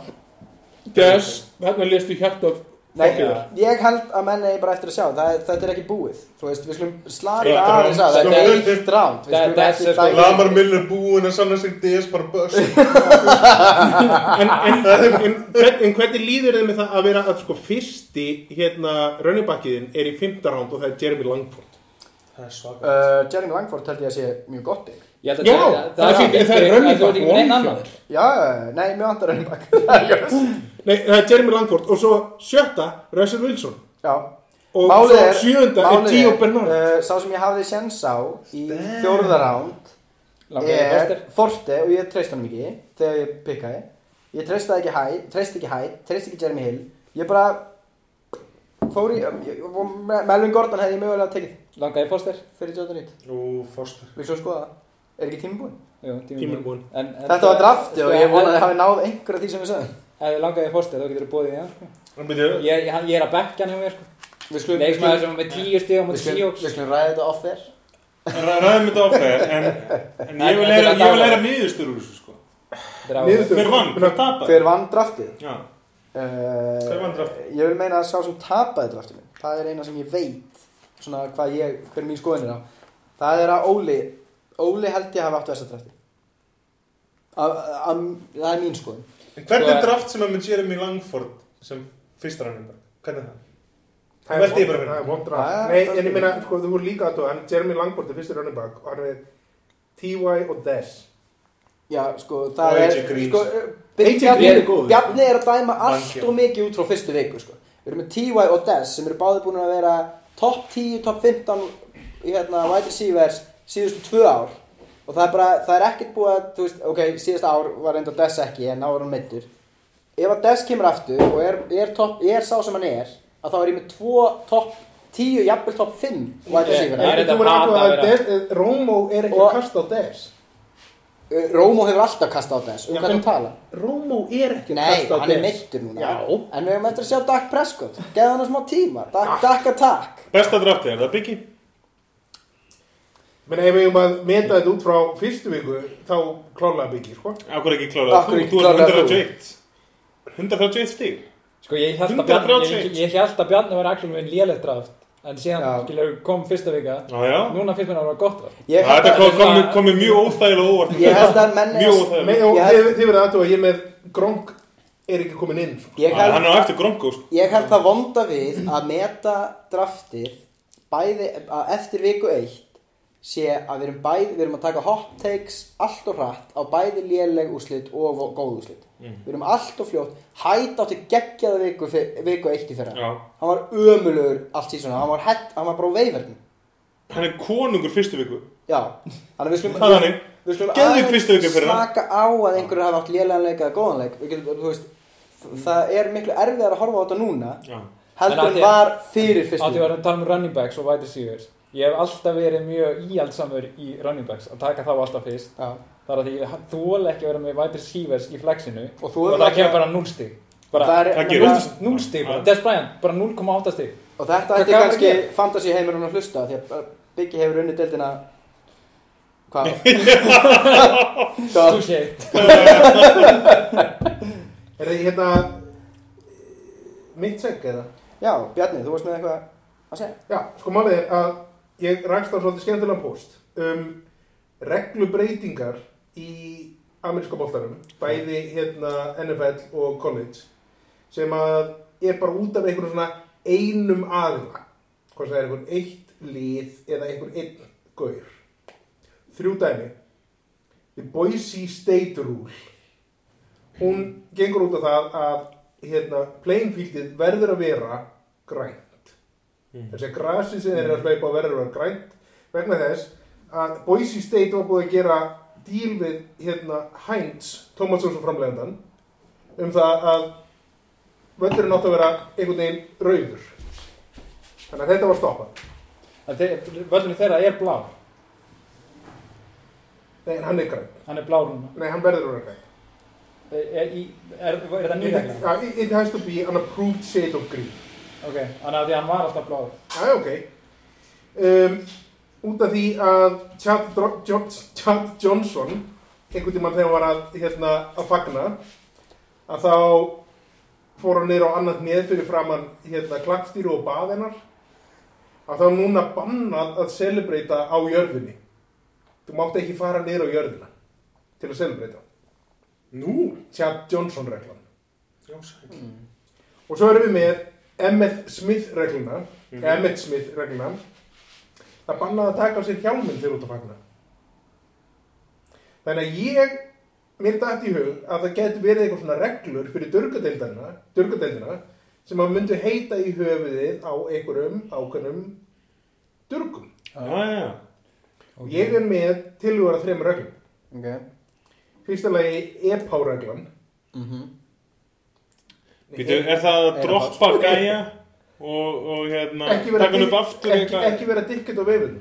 Speaker 3: Des, þarna lestu hjarta af
Speaker 1: Nei,
Speaker 3: fólkiður.
Speaker 1: ég held að menn eigi bara eftir að sjá það, er- Þetta er ekki búið Þú veist, við skulum slaka
Speaker 4: Eitt
Speaker 1: aðeins að
Speaker 2: round.
Speaker 1: Þetta er
Speaker 2: Þetta-
Speaker 1: eitt ránd Við
Speaker 2: Þetta-
Speaker 1: skulum
Speaker 2: þetta
Speaker 1: ekki
Speaker 2: er sko-
Speaker 1: dæma
Speaker 5: Lamar Miller búinn að sanna sig DS bara börs
Speaker 3: En, en, en, en, hvern- en hvernig líður þið með það að vera að sko fyrsti, hérna, rönnibakkiðin er í fymta ránd og það er Jeremy Langford.
Speaker 4: Það er svaka.
Speaker 1: Uh, Jeremy Langford held ég að sé mjög gott dig
Speaker 2: Ég held að
Speaker 3: Já,
Speaker 2: það-
Speaker 3: það er fínt, en það er
Speaker 2: Það
Speaker 3: running
Speaker 2: er
Speaker 3: back
Speaker 2: ekki neinn
Speaker 3: one
Speaker 2: annar
Speaker 1: Já, nei, mjög andar enn bak Það [laughs] er ljós.
Speaker 3: Nei, það er Jeremy Langford og svo sjötta, Russell Wilson.
Speaker 1: Já
Speaker 3: Og
Speaker 1: Málið
Speaker 3: svo
Speaker 1: er
Speaker 3: sjöunda er
Speaker 1: málið
Speaker 3: Gio Bernard.
Speaker 1: uh, Sá sem ég hafði séns á í fjórða ránd
Speaker 2: Langar
Speaker 1: er
Speaker 2: bestir
Speaker 1: Forte og ég treyst hann ekki þegar ég pikkaði ég treyst ekki hæ, treyst ekki hæ, treyst ekki Jeremy Hill ég bara fór í, ég- og Melvin Gordon hefði ég mögulega tekið
Speaker 2: Langaði fóster
Speaker 1: fyrir Jordan Reed,
Speaker 4: Ú, Forster.
Speaker 1: við svo skoða það er ekki tími búinn?
Speaker 2: Jú,
Speaker 3: Tíminn er búinn.
Speaker 2: En- en-
Speaker 1: Þetta var drafti og ég vonaði að
Speaker 2: En-
Speaker 1: þið hafi náð einhverja því sem við sögum
Speaker 2: Ef þið langaði fóster þá getur þið bóðið í hann sko.
Speaker 4: En byrju,
Speaker 2: Ég ég- hann- ég er að bekka hann hjá mér sko.
Speaker 1: við skulum, við
Speaker 2: Leikmaður
Speaker 1: skulum,
Speaker 2: sem er með tíu stíð á
Speaker 1: við
Speaker 2: mútið
Speaker 1: skulum,
Speaker 2: síjóks
Speaker 1: við skulum ræða þetta off air
Speaker 4: Ræ- Ræðum þetta áfæðir, en, en ég vil
Speaker 2: En-
Speaker 4: læra,
Speaker 2: en-
Speaker 4: ég vil læra niðurstur úr þessu sko.
Speaker 2: Drá
Speaker 3: Niðurstöður.
Speaker 4: Hver vann, hver tapar?
Speaker 1: hver vann draftið?
Speaker 4: Já,
Speaker 1: Hver
Speaker 4: Hver vann draft?
Speaker 1: Ég vil meina að sá sem tapaði draftinu Það er eina sem ég veit Svona hvað ég, hver mín skoðin er á Það er að Óli Óli held ég hafa átt þessa drafti að, að, Það er mín skoðin
Speaker 5: Hvernig
Speaker 2: Sko-
Speaker 5: draft sem er með
Speaker 4: um
Speaker 5: Jeremy Langford sem fyrsta ranninga? Hvernig er það?
Speaker 3: Það er
Speaker 5: Velti ég bara
Speaker 3: vond-
Speaker 5: fyrir.
Speaker 3: það er vond
Speaker 1: Já,
Speaker 3: draft.
Speaker 1: já,
Speaker 3: Nei,
Speaker 1: það
Speaker 3: en
Speaker 1: skil
Speaker 3: ég
Speaker 1: ég.
Speaker 3: meina, sko, þú voru líka að þú, hann Jeremy Langford er fyrsti running back og hann er T.Y. og Des.
Speaker 1: Já, sko, það
Speaker 5: Og
Speaker 1: er
Speaker 5: AJ Green.
Speaker 1: sko,
Speaker 3: AJ Green er góður.
Speaker 1: Bjarni er að dæma allt
Speaker 4: Vangjá.
Speaker 1: og mikið út frá fyrstu viku sko. Við erum með T.Y. og Dez sem eru báði búin að vera topp 10, topp 15 í hérna wide receivers síðustu tvö ár og það er bara, það er ekkert búið að, þú veist, ok, síðasta ár var enda Dez ekki en þá var hann meittur ef að Dez kemur aftur og er, er, topp, er sá sem hann er að þá er ég með tvo topp 10, jafnvel topp 5 wide
Speaker 2: Það er
Speaker 3: En
Speaker 1: receiver
Speaker 2: þetta
Speaker 3: þú voru
Speaker 2: hata að
Speaker 3: að að
Speaker 2: vera-
Speaker 3: Des, eh, Romo er ekki
Speaker 1: Og-
Speaker 3: að kasta á Des.
Speaker 1: Eh, Rómo hefur alltaf kastað á Dez, um
Speaker 3: Já,
Speaker 1: hvað
Speaker 3: en-
Speaker 1: þú tala
Speaker 3: Romo er ekki að
Speaker 1: Nei,
Speaker 3: kasta á
Speaker 1: hann er
Speaker 3: Des.
Speaker 1: meittur núna
Speaker 3: Já.
Speaker 1: En við höfum eftir að sjá Dak Prescott Geða hann smá tíma Dak,
Speaker 3: Ah.
Speaker 1: Dak attack
Speaker 4: Besta draftið, er það Biggi?
Speaker 3: Menn ef ég um að meta þetta út frá fyrstu viku, þá klálega byggir, sko.
Speaker 4: Akkur ekki klárað
Speaker 1: Af
Speaker 4: þú,
Speaker 1: hverju ekki
Speaker 4: þú
Speaker 1: klárað
Speaker 4: er
Speaker 1: þú?
Speaker 4: 131 131 stíg
Speaker 2: Sko ég held að
Speaker 4: 131.
Speaker 2: Bjarni, ég, ég held að Bjarni var actually með lélegt draft en síðan
Speaker 1: Já.
Speaker 2: skilur kom fyrsta vika
Speaker 4: Já, já
Speaker 2: núna finnst mér að það var gott draft
Speaker 1: Ég held
Speaker 4: Þetta
Speaker 1: að,
Speaker 4: kom, kom, kom mér mjög óþægilega óvart
Speaker 1: ég held að menn
Speaker 4: Mjög
Speaker 3: Me,
Speaker 4: óþægilega
Speaker 3: og
Speaker 1: Ég-
Speaker 3: þið, þið verða aðtúa, ég er með Gronk er ekki komin inn, sko.
Speaker 1: ég
Speaker 4: Hann
Speaker 1: held,
Speaker 4: er á eftir Gronko sko.
Speaker 1: ég held það vonda við að meta draftir bæði að eftir viku eitt sé að við erum bæði við erum að taka hot takes allt og hratt á bæði léleg úrslit og vo- góð úrslit
Speaker 3: Mhm.
Speaker 1: Við erum allt og fljótt Hætt átti geggjaða viku, fyr- viku eitt í fyrra
Speaker 4: Já.
Speaker 1: Hann var ömulugur allt í svona Hann var, hett, hann var bara á veifernum
Speaker 4: Hann er konungur fyrstu viku
Speaker 1: Já, þannig að við skulum
Speaker 4: Það er þannig.
Speaker 1: Við skulum
Speaker 4: Geðveik fyrstu viku fyrir það.
Speaker 1: slaka á að einhverju hafa átt lélegan leik eða góðan leik Við getum, þú veist, það er miklu erfiðar að horfa á þetta núna
Speaker 4: Já
Speaker 2: En
Speaker 1: heldur
Speaker 2: átti-
Speaker 1: en var fyrir fyrstu
Speaker 2: Átti var að tala um running backs og wide receivers Ég hef alltaf verið mjög íhaldsamur í running backs að taka þá alltaf fyrst
Speaker 1: Já,
Speaker 2: þar að ég þóla ekki að vera með wide receivers í flexinu
Speaker 1: Og
Speaker 2: og,
Speaker 1: þú hefur
Speaker 2: það
Speaker 1: ekki-
Speaker 2: kemur bara 0 stig bara
Speaker 1: Það er-
Speaker 4: Það
Speaker 1: Núll-
Speaker 4: gerir
Speaker 1: Núll-
Speaker 4: Já.
Speaker 2: 0 stig, bara
Speaker 4: Já.
Speaker 2: Des Bryant, bara 0,8 stig
Speaker 1: og þetta
Speaker 2: Hvað
Speaker 1: ætti
Speaker 2: gaf hann
Speaker 1: kannski
Speaker 2: að
Speaker 1: fantasy heimurinn að hlusta því að Biggi hefur unni deildina
Speaker 4: [laughs]
Speaker 1: hvað?
Speaker 2: Þú
Speaker 1: það,
Speaker 2: sé,
Speaker 3: Er þið hérna mitt seg eða?
Speaker 1: já, Bjarni, þú varst með eitthvað að segja
Speaker 3: Já, sko málið er að ég rakst á svolítið skemmtilega post um reglubreitingar í ameríska boltarum, bæði hérna NFL og college, sem að er bara út af einhvern svona einum aðila, hvort það er einhvern eitt lið eða einhvern einn gaur. Þrjú dæmi. The Boise State Rule. Hún gengur út af það að hérna, playing fieldið verður að vera grænt. Þessi að grasið sem þeir eru að hlaupa á verður að vera grænt vegna þess að Boise State var búið að gera díl við hérna, Heinz, Thomas Jónsson framlegendan um það að völlurinn átt að vera einhvern veginn rauður. Þannig að þetta var stoppað.
Speaker 2: að þe- völlurinn þeirra er blá
Speaker 3: Nei, en hann er grænt.
Speaker 2: hann er blá núna
Speaker 3: Nei, hann verður að vera grænt.
Speaker 2: Er, er, er, er það
Speaker 3: It,
Speaker 2: nýðeglega?
Speaker 3: uh, it has to be an approved shade of green.
Speaker 2: Ok, þannig að því að hann var alltaf blá
Speaker 3: Það er ok. Um, út af því að Chad, Dro- Jo- Chad Johnson, einhvern tímann þegar hann var að, hérna, að fagna, að þá fór hann niður á annað neð fyrir framann hérna, klappstýru og baðinar, að þá er núna bannað að celebreita á jörðinni. Þú mátt ekki fara niður á jörðina til að celebreita.
Speaker 5: Nú?
Speaker 3: Chad Johnson reglan.
Speaker 5: Já, sæll.
Speaker 2: Mm.
Speaker 3: Og svo erum við með Emmett Smith regluna
Speaker 4: Mhm.
Speaker 3: Emmett Smith regluna Það bannaði að taka á sér hjálminn þegar út að fagna Þannig að ég mér dætti í hug að það getur verið eitthvað svona reglur fyrir durgadeildina, durgadeildina sem að myndu heita í höfuðið á einhverjum ákveðnum durgum.
Speaker 4: Já, já, já
Speaker 3: Okay. Ég er með tilhugur að þremur reglum.
Speaker 1: ok
Speaker 3: Fyrsta lagi E EPÁ-reglan.
Speaker 1: mm
Speaker 2: Mhm.
Speaker 4: Býtu, er það að
Speaker 1: Eina
Speaker 4: droppa gæja og, og hérna,
Speaker 3: Ekki vera
Speaker 4: taka hann upp aftur
Speaker 3: ekki, ekki vera dikkert á veifinu.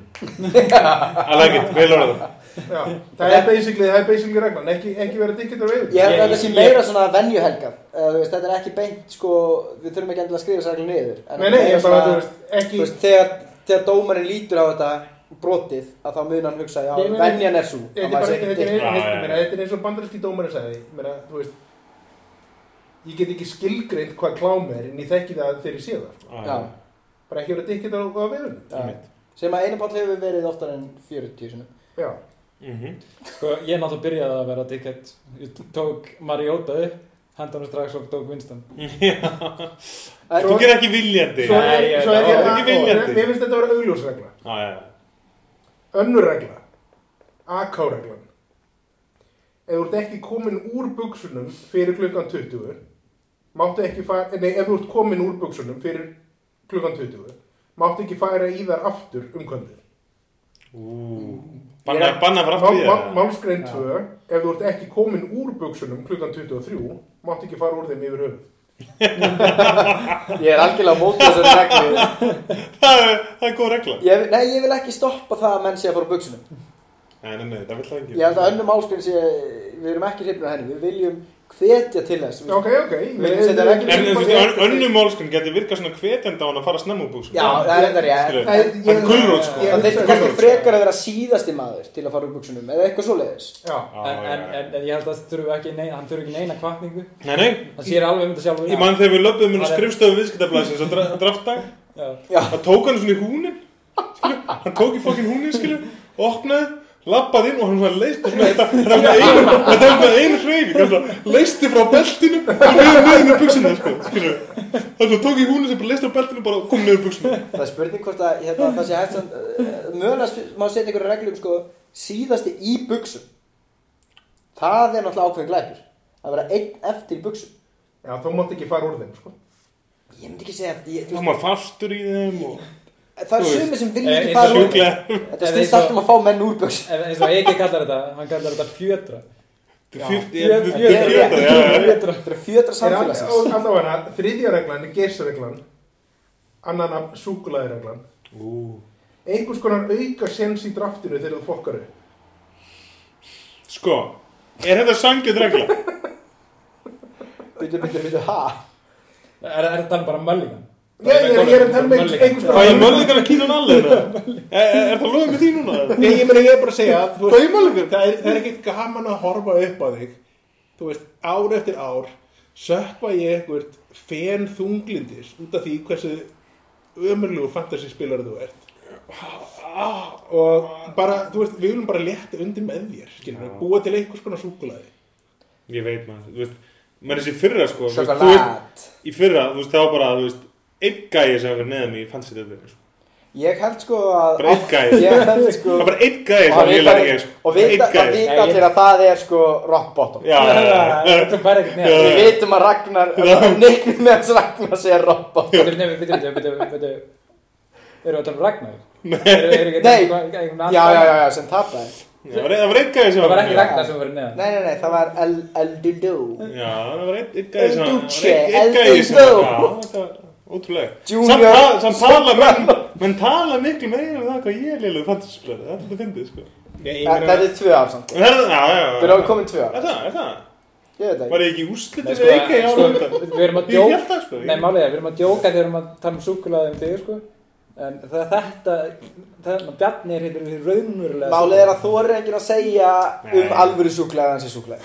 Speaker 4: I like it, vel orðað
Speaker 3: Já, það er basically, það er basically reglan, ekki, ekki vera dikkitur við.
Speaker 1: Ég held
Speaker 2: Ég-
Speaker 1: að þetta sé
Speaker 2: ég-
Speaker 1: meira svona venjuhelga veist, Þetta er ekki beint sko Við þurfum ekki endilega að skrifa sér niður en
Speaker 3: Nei, nei,
Speaker 1: meira
Speaker 3: ég bara,
Speaker 1: svona-
Speaker 3: þú veist, ekki,
Speaker 1: Þú veist, þegar, þegar dómarinn lítur á þetta brotið að þá mun hann hugsa já,
Speaker 3: Nei, nei,
Speaker 1: venjan er svo
Speaker 3: þetta er bara, þetta er-
Speaker 4: Já,
Speaker 3: þetta
Speaker 4: já, já.
Speaker 3: er- meina, þetta er eins og bandarinski dómarinn sagði, meina, þú veist, ég get ekki skilgreint hvað klám er en ég þekki það þegar ég sé það
Speaker 5: Ah,
Speaker 3: sko.
Speaker 1: Já.
Speaker 3: bara ekki verið dikkit á, á veðunum
Speaker 1: Já. Sem að einu báll hefur verið oftar en 40 sinum.
Speaker 3: já,
Speaker 5: Mhm.
Speaker 2: Sko, ég náttúrulega byrjaði að vera dickhead. Ég tók Mariota upp, hendur hann strax og tók Winston.
Speaker 5: Já.
Speaker 1: Það
Speaker 5: [laughs] Þú
Speaker 1: er-
Speaker 5: gerir ekki viljandi.
Speaker 3: svo
Speaker 2: Nei,
Speaker 3: er,
Speaker 2: ég-
Speaker 3: svo er
Speaker 2: það
Speaker 3: ég
Speaker 5: var
Speaker 3: að,
Speaker 5: ekki viljandi.
Speaker 3: og mér finnst þetta að vera augljósregla
Speaker 5: Já, Ah, já, já.
Speaker 3: önnur regla AK-reglan ef þú ert ekki komin úr buksunum fyrir klukkan 20 máttu ekki fara, nei, ef þú ert komin úr buksunum fyrir klukkan 20 máttu ekki fara í þar aftur um kvöldið
Speaker 5: Ú. Banna, banna bara aftur í
Speaker 3: Mál- mál-
Speaker 5: það.
Speaker 3: Málsgrein
Speaker 2: Já.
Speaker 3: 2 ef þú ert ekki komin úr buksunum klukkan 23 máttu ekki fara úr þeim yfir höfuð
Speaker 1: Ég er algjörlega mótið þessari reglu.
Speaker 5: [laughs] Það er, það er góð regla.
Speaker 1: Ég, nei, ég vil ekki stoppa það að menn sé að fara á buksunum.
Speaker 5: Nei, nei, nei, það vil það ekki.
Speaker 1: Ég held að önnum álskrin sé, við erum ekki hrifnir af henni, við viljum hvetja til þess. Við-
Speaker 3: ok, ok
Speaker 1: Mm. Við erum setja reglur.
Speaker 5: En þú veist, önnum málskun getur virkað svona hvetjandi á hann að fara snemma úr búksum.
Speaker 1: Já, það er enda rétt.
Speaker 5: Skilur.
Speaker 3: Nei, ég-
Speaker 5: Það er gulrót, sko.
Speaker 3: ég-
Speaker 1: Það þurfti
Speaker 3: hugsa-
Speaker 1: kannski frekar að vera síðasti maður til að fara úr buksunum, eða eitthvað svoleiðis.
Speaker 3: já,
Speaker 5: Ah, Já,
Speaker 2: en,
Speaker 5: já,
Speaker 2: en,
Speaker 5: já.
Speaker 2: en, en ég held að það þurfi ekki neina, hann þurfi ekki neina kvartningu
Speaker 5: Nei, nei,
Speaker 2: hann sér alveg um þetta sjálfur
Speaker 5: ég man þegar við löpum inn á
Speaker 2: Það er-
Speaker 5: skrifstöðu viðskiptablasins að dra- draftdag,
Speaker 2: Já.
Speaker 5: það tók hann svona í húnin, skilur, hann tók í fokkin húnin, skilur, opnaði, lappað inn og hann svona leist, svona, þetta þetta var með einu, þetta var með einu hreyfing, hann svona leisti frá beltinu og niður niður með buksinu, sko, skilur, hann svona tók í húnin sem bara leisti frá beltinu og bara kom niður buksinu.
Speaker 1: Það er spurning hvort að hérna, það sé hægt sem, eh, mögulega má setja einhverja reglum sko, síðasti í buksum. Það er náttúrulega ákveðin glæpur. Að vera einn eftir í buksum.
Speaker 3: já, þú mátt ekki fara úr þeim sko.
Speaker 1: Ég myndi ekki segja að, ég,
Speaker 5: Þú
Speaker 1: þú,
Speaker 5: maður fastur í þeim og
Speaker 1: veist, það er
Speaker 5: þú veist.
Speaker 1: sumi sem vilja
Speaker 2: Eh,
Speaker 1: ekki
Speaker 2: eins
Speaker 1: fara
Speaker 2: og
Speaker 1: úr.
Speaker 5: sjúklega,
Speaker 1: Þetta
Speaker 2: Eh,
Speaker 1: snýst
Speaker 2: eins og-
Speaker 1: allt um að fá menn úr buksum.
Speaker 2: En eins og Eiki kallar þetta, hann kallar þetta fjötra
Speaker 5: þetta er
Speaker 2: Fjö-
Speaker 5: fjö-
Speaker 2: fjötra.
Speaker 5: þetta er fjöta, já, já, já.
Speaker 2: fjötra
Speaker 1: Þetta er fjötra
Speaker 3: En all-
Speaker 1: samfélagsins.
Speaker 3: all- allavega, þriðja reglan er geisreglan annan af súkulaði reglan
Speaker 5: Ú,
Speaker 3: einhvers konar auka sens í draftinu þegar þú fokkar upp
Speaker 5: Sko, er þetta sangjöð regla?
Speaker 1: Byttu, byttu, byttu, ha?
Speaker 2: Er er þetta bara möllingan?
Speaker 3: ég, ég, ég,
Speaker 1: um
Speaker 3: ég er að tala með einhvers
Speaker 5: Fæ ég
Speaker 3: konar
Speaker 5: möllingar að kýra hann alveg? Er, er, er það loðið með því núna?
Speaker 3: Nei, ég meina ég er bara að segja að þú
Speaker 5: Fæ ég möllingar?
Speaker 3: það er, það er ekkert gaman að horfa upp á þig þú veist, ár eftir ár sökva ég einhvert fen þunglindis út af því hversu ömurlegu fantasyspilar þú ert og bara, þú veist, við viljum bara létta undir með þér, skilur við,
Speaker 5: Já.
Speaker 3: búa til einhvers konar súkulaði
Speaker 5: Ég veit maður, þú veist, maður er sér fyrra sko, þú veist, þú veist,
Speaker 1: Sjokolat.
Speaker 5: í fyrra, þú veist, þá bara, þú veist, einn gæi sem var neðan mig, fannst þetta sko.
Speaker 1: Ég held sko að...
Speaker 5: Bara einn gæi.
Speaker 1: Ég held sko...
Speaker 5: Það var bara einn gæi
Speaker 1: Og
Speaker 5: sem ég lærði ég, sko.
Speaker 1: og vita,
Speaker 5: Einn
Speaker 1: það
Speaker 5: gæi.
Speaker 1: vita allir að það er sko rock bottom.
Speaker 5: Já, já, já, já.
Speaker 2: Þú fær ekkert neða
Speaker 5: Já.
Speaker 1: Við vitum að Ragnar, neiknum með hans Ragnar sé rock bottom.
Speaker 2: Bíddu, bíddu, bíddu, bíddu, bíddu, bíddu. Erum við að tala um Ragnar? Nei
Speaker 1: Nei. Já, já, já, já, sem tapaði.
Speaker 5: Já, Það var- það var einn gæi sem
Speaker 2: Það var
Speaker 5: neðan
Speaker 2: ekki
Speaker 5: mig.
Speaker 2: Ragnar sem var neðan
Speaker 1: Nei, nei, nei, það var El, El Dildo.
Speaker 5: Já, það var einn einn gæi sem
Speaker 1: El
Speaker 5: var-
Speaker 1: Duce,
Speaker 5: einn- einn
Speaker 1: El
Speaker 5: gæi sem
Speaker 1: Dundo.
Speaker 5: Já, þetta var ótrúlega.
Speaker 1: Junior.
Speaker 5: Samt ta- Samt tala, menn, menn tala miklu meira um það hvað ég er lélegur fantasyspilari, það er þetta fyndið, sko.
Speaker 1: Það er tvö ár samt.
Speaker 5: En það er- já, já, já.
Speaker 1: Við erum komin tvö
Speaker 5: Er
Speaker 1: ár.
Speaker 5: það, er það?
Speaker 1: Ég veit það ekki.
Speaker 5: Var ég ekki úslitið
Speaker 2: sko,
Speaker 5: við Eikei
Speaker 2: en
Speaker 5: ára undan?
Speaker 2: sko, Við við erum að
Speaker 5: Ég
Speaker 2: djóka
Speaker 5: held það sko.
Speaker 2: Nei, málið er, við erum að djóka þegar við erum að tala um súkulaði um þig, sko. En það, þetta, þetta, Bjarni er heitir raunverulega.
Speaker 1: Málið er að þú er enginn að segja um
Speaker 5: Nei.
Speaker 1: alvöru súklaði hans í súklaði.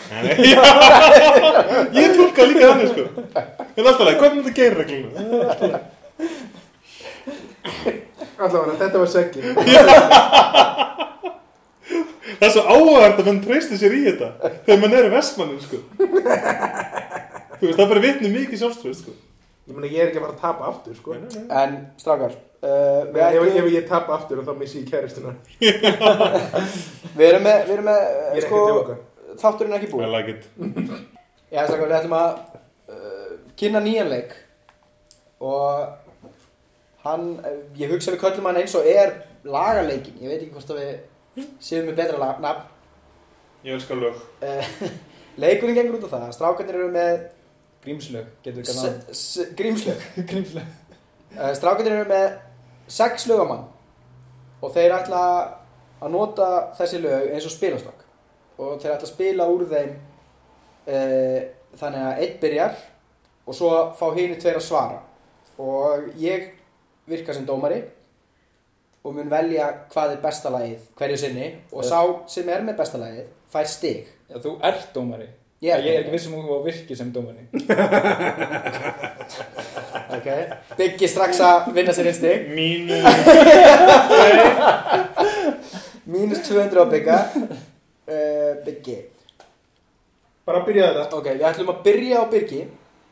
Speaker 5: [laughs] Ég tólka líka þannig sko. En alltaf leið, hvernig þetta gerir reglum?
Speaker 3: allavega, þetta var seggi
Speaker 5: Það er svo áhægt að menn treysti sér í þetta þegar mann er í vestmannin sko. Þú veist, það er bara vitni mikið sjálfströð sko.
Speaker 3: ég meina ég er ekki að fara að tapa aftur sko.
Speaker 5: Nei, nei, nei.
Speaker 1: En, strákar, uh, við,
Speaker 3: ef,
Speaker 1: ætlum,
Speaker 3: ef ég tapa aftur þá missi ég kæristuna ég
Speaker 1: við erum með, við erum með, eh,
Speaker 3: er ekki
Speaker 1: sko,
Speaker 3: að djóka
Speaker 1: þátturinn er ekki búinn.
Speaker 5: I like it.
Speaker 1: Já, strákar, við ætlum að uh, kynna nýjan leik og hann, eh, ég hugsa við köllum hann eins og er lagaleikin, ég veit ekki hvort að við séum með betra lag- nafn.
Speaker 5: Ég elskar lög.
Speaker 1: Uh, leikurinn gengur út á það, að strákarnir eru með
Speaker 2: Grímslög, getur við kannað.
Speaker 1: s- s- grímslög.
Speaker 2: Grímslög.
Speaker 1: Uh, strákarnir eru með sex lögamann og þeir ætla að nota þessi lög eins og spilastokk og þeir ætla að spila úr þeim uh, þannig að einn byrjar og svo fá hinu tveir að svara og ég virka sem dómari og mun velja hvað er besta lagið hverju sinni og sá sem er með besta lagið fær stig
Speaker 2: Já, þú ert dómari.
Speaker 1: Ég
Speaker 2: Ég er ekki vissum að hún var virki sem dómari.
Speaker 1: Ok, Biggi strax að vinna sér einn stig
Speaker 5: Mínu
Speaker 1: Mínus 200 á Bigga uh, Biggi
Speaker 3: Bara að byrja þetta
Speaker 1: Ok, við ætlum að byrja á Biggi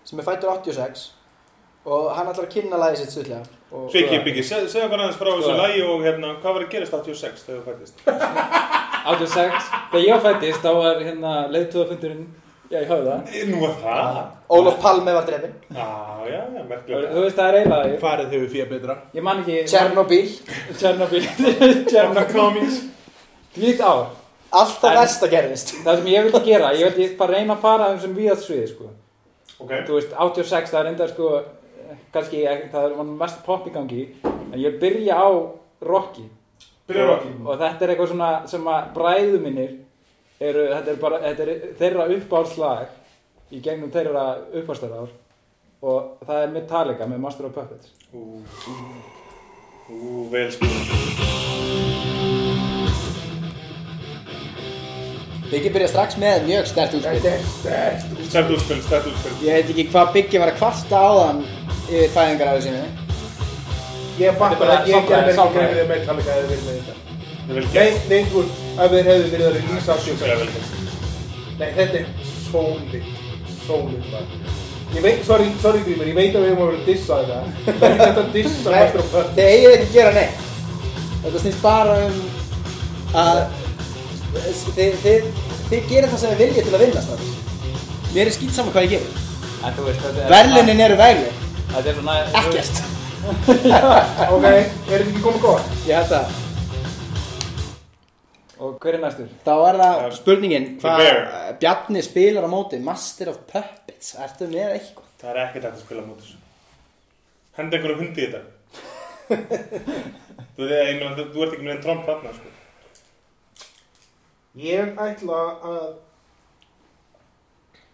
Speaker 1: sem er fættur 86 og hann ætlar að kynna lagið sitt stuðlega og...
Speaker 5: Biggi, Biggi, segð seg okkur aðeins frá þessu
Speaker 2: Skoða.
Speaker 5: lagi og hérna, hvað var að gerast 86 þegar þú fættist?
Speaker 2: 86, þegar ég fættist, þá var hérna leiðtúðafundurinn, já, ég hafði það.
Speaker 5: Nú var það?
Speaker 1: Ólaf Palme var drefin
Speaker 5: Já, Ah, já, já, merkilega
Speaker 2: Þú veist, það er eiginlega,
Speaker 3: Farið hefur fyrir betra
Speaker 2: ég man ekki...
Speaker 1: Tjernobyl
Speaker 2: Tjernobyl. [laughs] Tjernobyl.
Speaker 5: Comings
Speaker 2: Lít ár.
Speaker 1: Alltaf
Speaker 2: En-
Speaker 1: verst að gerðist
Speaker 2: Það sem ég vildi gera, ég vildi bara reyna að fara um sem viðarsviði, sko.
Speaker 5: Ok,
Speaker 2: þú veist, 86, það er enda sko eh, kannski, ekki- það var mest pop í gangi en ég byrja á rocki
Speaker 5: byrjar okki
Speaker 2: og þetta er eitthvað svona sem að bræðu mínir eru, þetta er bara, þetta er þeirra uppáhaldslag í gegnum þeirra uppáhaldstæðar og það er Metallica með Master of Puppets
Speaker 5: Ú, ú, vel sko
Speaker 1: Biggi byrja strax með mjög stert útspil
Speaker 5: Stært útspil, stært útspil
Speaker 1: Ég veit ekki hvað Biggi var að kvarta á þann yfir fæðingaræðu sínu
Speaker 3: Ég fatt
Speaker 2: bara
Speaker 3: að ég
Speaker 2: sálfræði,
Speaker 3: gerði ekki
Speaker 2: sálfræði.
Speaker 3: með þeim Metallica hefði verið með þetta
Speaker 5: Það er vel
Speaker 3: Nei,
Speaker 5: gert
Speaker 3: nei, þú veist, ef þeir hefðu verið að release af
Speaker 5: Það er
Speaker 3: sjöfæl
Speaker 5: vel gert
Speaker 3: Nei, þetta er sólið Sólið var Ég veit, sorry, sorry Grímur, ég veit að við hefum að vera að dissa þetta Það er ekki þetta að dissa
Speaker 1: Nei,
Speaker 3: Master of Puppets
Speaker 1: Þið eigið ekki að gera neitt Þetta snýst bara um að þið, þið, þið gerir það sem þið viljið til að vinna strax Mér er skýt saman hvað ég gerir
Speaker 2: en þú veist, þetta er
Speaker 1: Verlunin eru verlun
Speaker 2: þetta er svona
Speaker 1: Ekkert
Speaker 2: [laughs]
Speaker 3: Ok, er þetta ekki komið góð?
Speaker 1: Ég held að
Speaker 2: og hver er næstur?
Speaker 1: Þá er það spurningin hvað
Speaker 5: Bear.
Speaker 1: eh, Bjarni spilar á móti Master of Puppets Ertu með eitthvað?
Speaker 5: Það er ekkert hægt að spila mót þessu Henda einhverju hundi í þetta Þú veit, ég meina, þú- þú ert ekki með einn tromp þarna sko
Speaker 3: Ég ætla að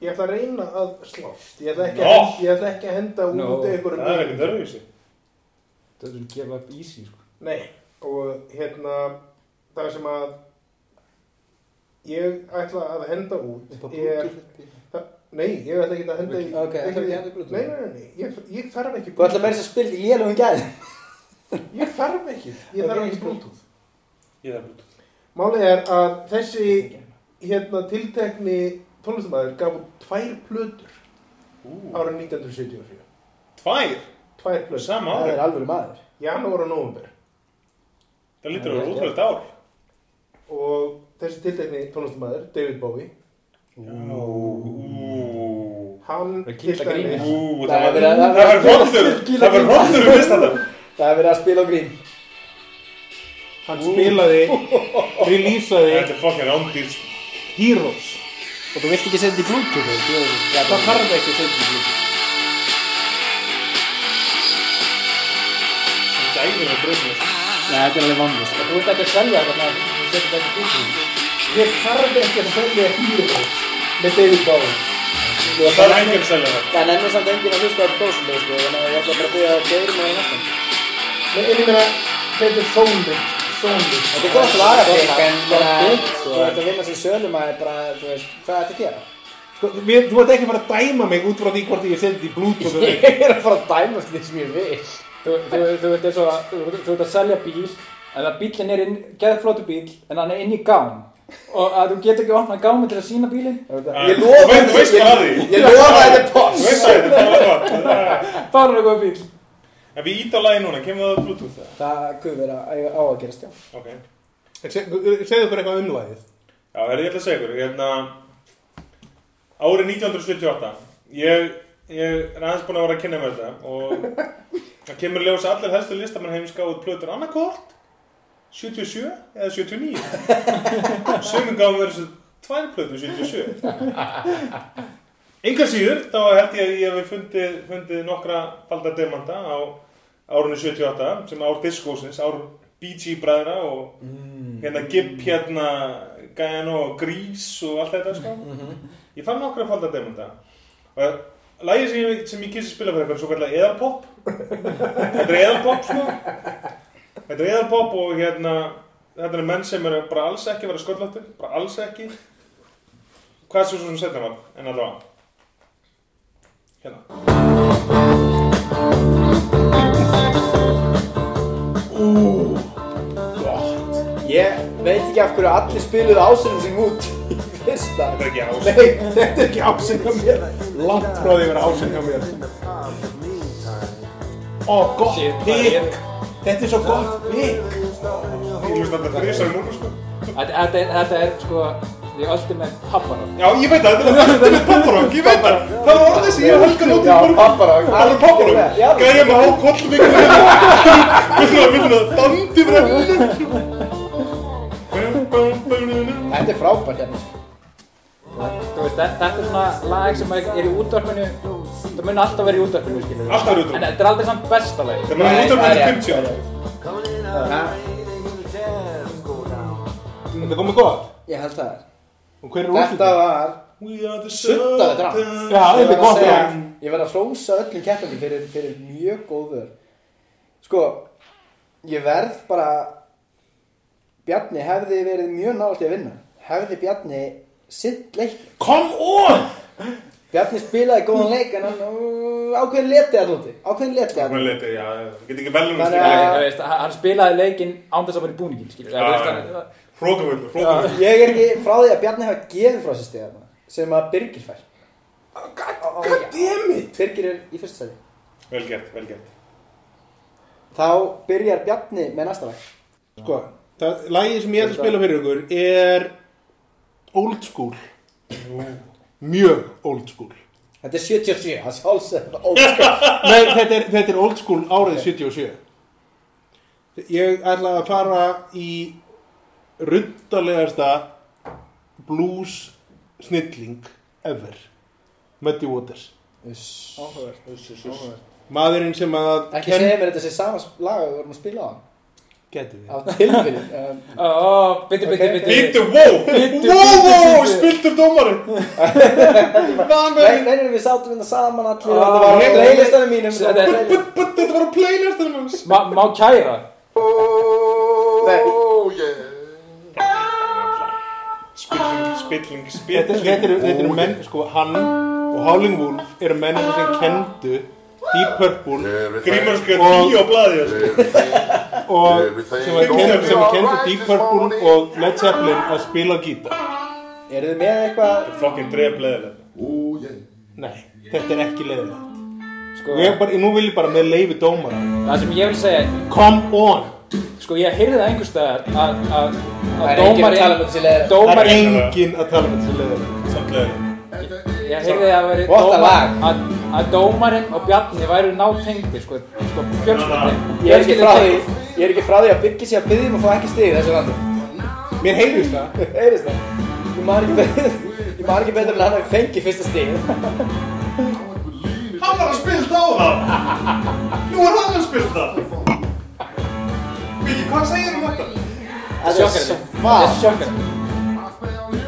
Speaker 3: Ég ætla að reyna að slást Ég ætla ekki,
Speaker 5: Nó.
Speaker 3: að, ég ætla ekki að henda út
Speaker 2: Nó.
Speaker 3: no.
Speaker 5: Það
Speaker 3: einhverjum
Speaker 5: er ekkert örfísi
Speaker 2: þetta er að gefa upp easy sko.
Speaker 3: Nei, og hérna það sem að ég ætla að henda út er, það, nei, ég ætla ekki að henda í
Speaker 1: Ok, ætlar ekki að henda í
Speaker 3: nei,
Speaker 1: Bluetooth?
Speaker 3: nei, nei, nei, ég, ég þarf ekki
Speaker 1: Þú ætla meira þess að spila í élum gæði
Speaker 3: ég þarf ekki, ég þarf
Speaker 1: Ok,
Speaker 3: ekki
Speaker 1: sko.
Speaker 3: Bluetooth
Speaker 5: Ég þarf út
Speaker 3: Málið er að þessi hérna tiltekni tónlistamæður gaf út tvær plötur
Speaker 5: Ú,
Speaker 3: árið 1977
Speaker 5: tvær
Speaker 3: tvær plötur,
Speaker 5: Sama
Speaker 1: Það
Speaker 5: ári
Speaker 1: er alveg maður
Speaker 3: janúar og nóvumber
Speaker 5: Það lítur að vera útrúlega ár.
Speaker 3: og þessi tiltekni tónlistamæður, David Bowie
Speaker 5: Ú,
Speaker 3: hann
Speaker 2: Það er kýla
Speaker 3: til dæmis-
Speaker 2: grínið.
Speaker 5: ú,
Speaker 1: Það
Speaker 5: það
Speaker 1: er
Speaker 5: var
Speaker 1: verið að-
Speaker 5: það var hóttur, það var hóttur við þetta.
Speaker 1: Það er verið að spila á grín
Speaker 3: Hann spilaði, releasaði
Speaker 5: Þetta er fokkin ándýr.
Speaker 3: Heroes.
Speaker 1: Og þú vilt ekki setja þetta í Bluetooth þú veist, já,
Speaker 3: Það þarf ekki að segja um því.
Speaker 5: Gæðin er bröðin.
Speaker 1: Nei, þetta er alveg vannlust
Speaker 2: þú veist ekki að selja þetta þú setur þetta ekki easy
Speaker 3: Ég þarf ekki að segja um Heroes með David Bowie.
Speaker 5: Það er enginn að selja það.
Speaker 1: Það nefnir samt enginn að hlusta á dósum sko, Þannig að ég ætla bara að byrja á beirum og í næstum
Speaker 3: Nei, en ég meina, þetta er sónið, sónið.
Speaker 1: Þetta er gott lagabrik En bara,
Speaker 2: Gott, sko.
Speaker 1: þú ert að vinna sem sölum að bara, þú veist, hvað ertu að gera?
Speaker 3: Sko, mér, þú ert ekki að fara að dæma mig út frá því hvort ég seti í Bluetooth eða ekki.
Speaker 1: Ég er að fara að dæma eftir því sem ég vil
Speaker 2: þú, þú, þú veist eins og að þú, þú ert að selja bíl en að bílinn er inn, geðflótu bíl en hann er inn í gám og að þú getur ekki opnað gámi til að sína bílinn
Speaker 1: Ég
Speaker 5: Þú
Speaker 1: lofa
Speaker 5: veist- þú veist hvað að því.
Speaker 1: Ég lofa að þetta er
Speaker 5: Þú
Speaker 1: poss
Speaker 5: veist að þetta er gott. Það er-
Speaker 2: bara er eitthvað bíl
Speaker 5: Ef við ít á lagi núna, kemur það á Bluetooth það?
Speaker 1: Það kuð vera á að gerast, já
Speaker 5: Ok.
Speaker 3: En seg- Segðu okkur eitthvað um lagið.
Speaker 5: Já, það er ég ætla að segja ykkur. Hérna, árið 1978, ég, ég er aðeins búin að vera að kynna með þetta og það kemur í ljós að allir helstu listamann heims gáðu plötur annarkort 77 eða 79. Sumir gáðum verið þessu tvær plötur 77. Engar síður, þá held ég að ég hef fundið, fundið nokkra falda demanta á árinu 78 sem ár diskósins, ár BG bræðra og hérna Gibb hérna gæðan og grís og allt þetta sko ég fann nokkra falda demunda og lagið sem ég, sem ég kýrst að spila fyrir eitthvað svo kallar eðalpop þetta er eðalpop sko þetta er eðalpop og hérna þetta er menn sem eru bara alls ekki að vera sköllóttir bara alls ekki Hvað er svo sem setna var? En allavega. Hérna.
Speaker 1: Ég veit ekki af hverju allir spiluðu ásunum sem út [laughs] í fyrsta.
Speaker 5: Þetta er ekki ás.
Speaker 1: Nei, þetta er ekki ásunum mér.
Speaker 3: Langt frá því að vera ásinn hjá mér. Ó, gott
Speaker 2: Shit, hvað er
Speaker 3: pikk.
Speaker 2: ég?
Speaker 3: Þetta er svo gott pikk.
Speaker 5: Ég hlust þetta þrísar í morgun, sko.
Speaker 2: Þetta- Þetta er- þetta er sko, ég öldi með papparann.
Speaker 5: Já, ég veit það, þetta var þetta með papparang, ég veit það. Það var orðið sem ég og Helga nótum í morgun.
Speaker 1: papparang.
Speaker 5: Það var papparang.
Speaker 1: Já,
Speaker 5: Gæja með hérna. hákollum ykkur. Við þurfum að mynda að dandi brennu.
Speaker 1: Þetta er frábært hérna.
Speaker 2: Þú veist, þe- þetta er svona lag sem er er í útvarpinu, það mun alltaf vera í útvarpinu, skilur
Speaker 5: Alltaf vera í útvarpinu.
Speaker 2: En þetta er aldrei samt besta lag.
Speaker 5: Það var út af
Speaker 1: Nei,
Speaker 5: brennu
Speaker 1: það er
Speaker 5: 50 ára.
Speaker 3: Þetta komið gott.
Speaker 1: Ég held það.
Speaker 3: Og hver er
Speaker 1: Þetta
Speaker 3: úrslutin?
Speaker 1: var
Speaker 5: We are the
Speaker 1: Suddaði drap.
Speaker 5: Sultans.
Speaker 3: Já,
Speaker 1: Ég
Speaker 3: þetta
Speaker 1: verð að
Speaker 3: er gott
Speaker 1: segja,
Speaker 3: lag.
Speaker 1: Ég verð að hrósa öllum keppandi fyrir, fyrir mjög góður. Sko, ég verð bara... Bjarni hefði verið mjög nálægt í að vinna. Hefði Bjarni sitt leik.
Speaker 3: Come on!
Speaker 1: Bjarni spilaði
Speaker 2: Mm.
Speaker 1: góðan leik en hann ákveðin leti að núti. Ákveðin leti að
Speaker 5: Hún er litið, já, við getum ekki velum
Speaker 1: Bara-
Speaker 5: slíka
Speaker 2: Þú
Speaker 5: leikir.
Speaker 2: veist, hann hann spilaði leikinn án þess að vera í búningin, skilur
Speaker 5: Já,
Speaker 2: við.
Speaker 5: já. Hrókafull, hrókafull.
Speaker 1: Ég er ekki frá því að Bjarni hafa gefið frá sér stegið sem að Birgir fær.
Speaker 3: God damn it!
Speaker 1: Birgir er í fyrsta sæti.
Speaker 5: Vel gert, vel gert.
Speaker 1: Þá byrjar Bjarni með næsta lag.
Speaker 3: Sko, það, lagið sem ég ætla að spila fyrir ykkur er old school. Mm. Mjög old school.
Speaker 1: Þetta er 77, það sjálfsögð.
Speaker 2: [laughs]
Speaker 1: Óskar.
Speaker 3: Nei, þetta er, þetta er old school árið 77 Ég ætla að fara í rundalegasta blues snilling ever Muddy Waters
Speaker 1: Áhugavert. Áhugavert.
Speaker 3: Maðurinn sem að
Speaker 1: Ekki segja mér þetta sé sama lag og við vorum að spila á hann.
Speaker 3: Getið þið
Speaker 1: Af tilbyrjun.
Speaker 2: [laughs]
Speaker 1: Um,
Speaker 2: Ó, bitti, bitti,
Speaker 1: Ok.
Speaker 2: bitti.
Speaker 5: Bítu, wow,
Speaker 2: Bíddu,
Speaker 5: wow, wow,
Speaker 2: bíddu.
Speaker 5: spiltur
Speaker 1: [laughs]
Speaker 5: dómarinn
Speaker 1: nei, nei, nei, við sátum hérna saman allir.
Speaker 2: Ah,
Speaker 1: Þetta var á
Speaker 2: ég-
Speaker 1: playlistanum mínum.
Speaker 2: Þetta er-
Speaker 1: Nei,
Speaker 5: But, but, þetta var á playlistanum hans
Speaker 2: Má má kæra?
Speaker 5: Spilling, spilling,
Speaker 3: Þetta,
Speaker 5: spilling
Speaker 3: þetta, eru, þetta eru menn, sko, hann og Howling Wolf eru menn sem kendu Deep Purple
Speaker 5: Grímur
Speaker 6: Everything,
Speaker 5: skjöð tíu á blaði þessu
Speaker 3: og sem að kendu, sem að kendu Deep Purple og Led Zeppelin að spila gítar
Speaker 1: Eru þið með eitthvað?
Speaker 5: Fucking dref leðilega
Speaker 6: Oh yeah.
Speaker 3: Nei, þetta er ekki leiðilegt
Speaker 2: Sko,
Speaker 3: Og ég bara, nú vil ég bara með leifi dómara
Speaker 2: það sem ég vil segja,
Speaker 3: Come on
Speaker 2: sko, ég heyrði það einhvers staðar að, að,
Speaker 1: Það
Speaker 2: að
Speaker 1: er enginn að tala um
Speaker 2: dómarinn,
Speaker 1: þessi leiðir.
Speaker 3: Það er
Speaker 2: dómarinn,
Speaker 3: enginn að tala um þessi leiðilegt
Speaker 5: Samt leðilega
Speaker 2: ég heyrði að veri,
Speaker 1: What a lag.
Speaker 2: dómarinn, að, að dómarinn og Bjarni væru nátengdir, sko, sko, fjölskyldin.
Speaker 1: Ég er ekki frá því. Ég er ekki frá því að Birgir sé að byggja um að fá ekki stig í þessu landi.
Speaker 3: Mér heyrðist það
Speaker 1: Heyrðist það? Ég man ekki betur, ég man ekki betur en hann hafi fengið fyrsta stig.
Speaker 5: Hann var að spilta á það Nú er hann að spilta Viki, hvað segir um þetta?
Speaker 1: Þetta er
Speaker 2: Sjokkar, þetta er
Speaker 1: svart.
Speaker 2: sjokkar.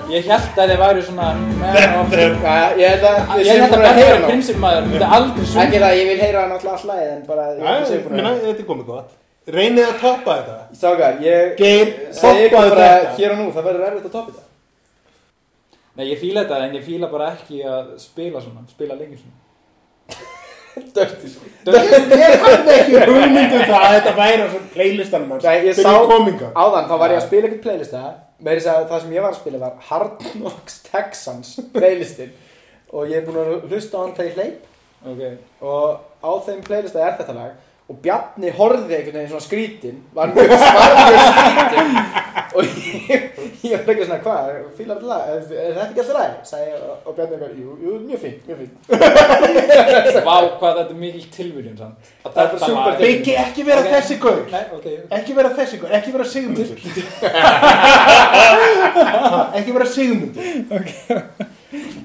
Speaker 2: Ég held að þið væru svona, man of,
Speaker 5: Þetta er
Speaker 1: Ég held að við
Speaker 2: ég
Speaker 1: séum
Speaker 2: held að
Speaker 1: búin að
Speaker 2: Bjarni
Speaker 1: heyra
Speaker 2: væri
Speaker 1: hann.
Speaker 2: prinsipmaður, þetta er aldrei
Speaker 1: Ekki
Speaker 2: svona.
Speaker 1: það, ég vil heyra hann alltaf alltaf en bara... ég er
Speaker 3: Æ,
Speaker 1: séu búin að-
Speaker 3: menna, þetta er komið gott Reynið að toppa þetta
Speaker 1: Strákar, ég
Speaker 3: Geir,
Speaker 1: segi ykkur
Speaker 3: toppaðu
Speaker 1: bara
Speaker 3: þetta
Speaker 1: hér og nú, það verður erfitt að toppa þetta.
Speaker 2: Nei, ég fíla þetta, en ég fíla bara ekki að spila svona, spila lengi svona.
Speaker 1: Dörti.
Speaker 3: Ég hafði ekki hugmynd um það að þetta væri á svona playlistanum hans
Speaker 1: Nei, ég
Speaker 3: Fyrir
Speaker 1: sá
Speaker 3: kominga
Speaker 1: áðan, þá var ég að spila eitthvað playlista, meiri þess að það sem ég var að spila var Hard Knocks Texans playlistin og ég er búin að hlusta á hann þegar ég hleyp
Speaker 2: Ok.
Speaker 1: og á þeim playlista er þetta lag og Bjarni horfði einhvern veginn svona skrítin, var mjög svartur skrítin og ég, ég var ekki svona, hvað, fílar þetta lag, er, er þetta ekki alltaf lag? Sæði ég og- og Bjarni eitthvað, jú, jú, mjög fínt, mjög fínt.
Speaker 2: Vá, hvað þetta er mikil tilviljun samt.
Speaker 1: Það
Speaker 2: Að
Speaker 1: er bara
Speaker 2: þetta
Speaker 1: super
Speaker 2: var-
Speaker 1: tilviljun.
Speaker 3: Biggi, ekki vera
Speaker 2: Ok.
Speaker 3: þessi gaur
Speaker 2: Nei, ok.
Speaker 3: Ekki vera þessi gaur, ekki vera sigmundur Ha, Ekki vera sigmundur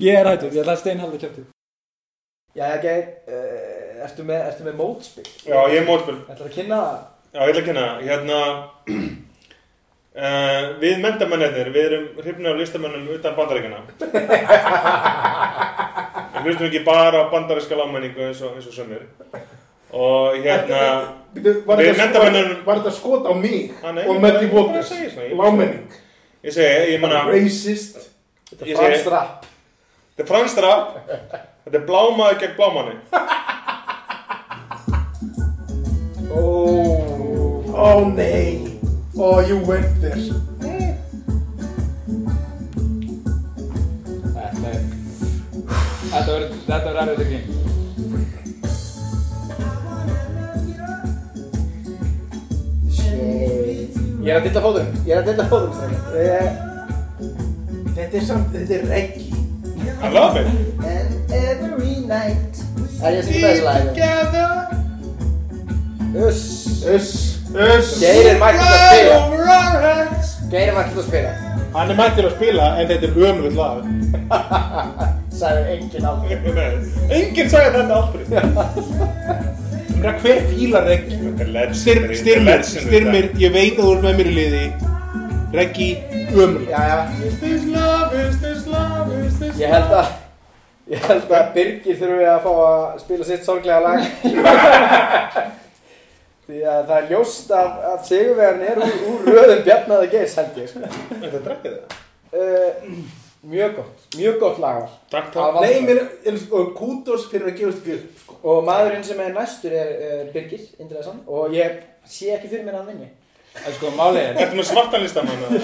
Speaker 2: Ég er hættur, ég ætla að steinhalda kjöptið.
Speaker 1: Jæja, Geir, uh, eh, ertu með, ertu með mótspil?
Speaker 5: Já, ég er mótspil
Speaker 1: Ætlar að kynna það?
Speaker 5: Já, ég ætla að kynna það. hérna [clears throat] uh, Við mentamennir, við erum hrifnir af listamennum utan
Speaker 3: [laughs]
Speaker 5: bandaríkjana Við hlustum ekki bara á bandaríska lágmenningu eins og, eins og sömur Og hérna
Speaker 3: Var
Speaker 5: Við
Speaker 3: þetta
Speaker 5: mentamennunum-
Speaker 3: skot- var þetta skot á mig
Speaker 5: Ah, nei,
Speaker 3: og
Speaker 5: ég-
Speaker 3: Muddy
Speaker 5: ég bara
Speaker 3: Waters
Speaker 5: segi svona, ég-
Speaker 3: Lámenning
Speaker 5: Ég segi, ég manna
Speaker 3: Racist
Speaker 5: Ég
Speaker 1: Franz
Speaker 5: segi,
Speaker 1: Rapp
Speaker 5: Þetta er franskt rap Þetta er blámaður gegn blámanni
Speaker 3: Ó oh, nei Ó, oh, you went there
Speaker 2: Þetta er Þetta verður Þetta verður erfitt ekki
Speaker 1: Ég er að dilla fóðum, ég er að dilla fóðum strákar.
Speaker 3: Eh, Þetta er samt, þetta er reggi
Speaker 5: I
Speaker 3: [laughs]
Speaker 5: love it
Speaker 1: And every night Er ég að syngja þessu lagi? Uss
Speaker 3: Uss, uss
Speaker 1: Geir er mættur að spila Geir er mættur að spila
Speaker 3: Hann er mættur að spila en þetta er ömulegt lag
Speaker 1: Sæður enginn aldrei
Speaker 5: Enginn sagði þetta aldrei
Speaker 3: Mér að hver fílar reggi
Speaker 5: Þetta er legendary
Speaker 3: Styrmir, styrmir,
Speaker 5: Legendary.
Speaker 3: styrmir Ég veit að þú ert með mér í liði Reggi, ömulegt
Speaker 1: Jæja
Speaker 5: Is this love, is this love, is this
Speaker 1: Ég held að Ég held að Birgir þurfi að fá að spila sitt sorglega
Speaker 5: [laughs]
Speaker 1: lag Því að það er ljóst að, að Sigurvegarn er úr, úr röðum Bjarnaða Geirs held ég sko.
Speaker 5: Þetta drekkið það
Speaker 1: uh, Mjög gott, mjög gott lagar
Speaker 5: Takk,
Speaker 1: Það
Speaker 5: takk
Speaker 1: var-
Speaker 3: Nei, mér, er- sko, kútos fyrir að gefast ekki upp sko.
Speaker 1: Og maðurinn sem er næstur er uh, Birgir Indreðarsson og ég sé ekki fyrir mér að hann vinni
Speaker 2: En sko málið er
Speaker 5: Ertu með svartan listamann eða?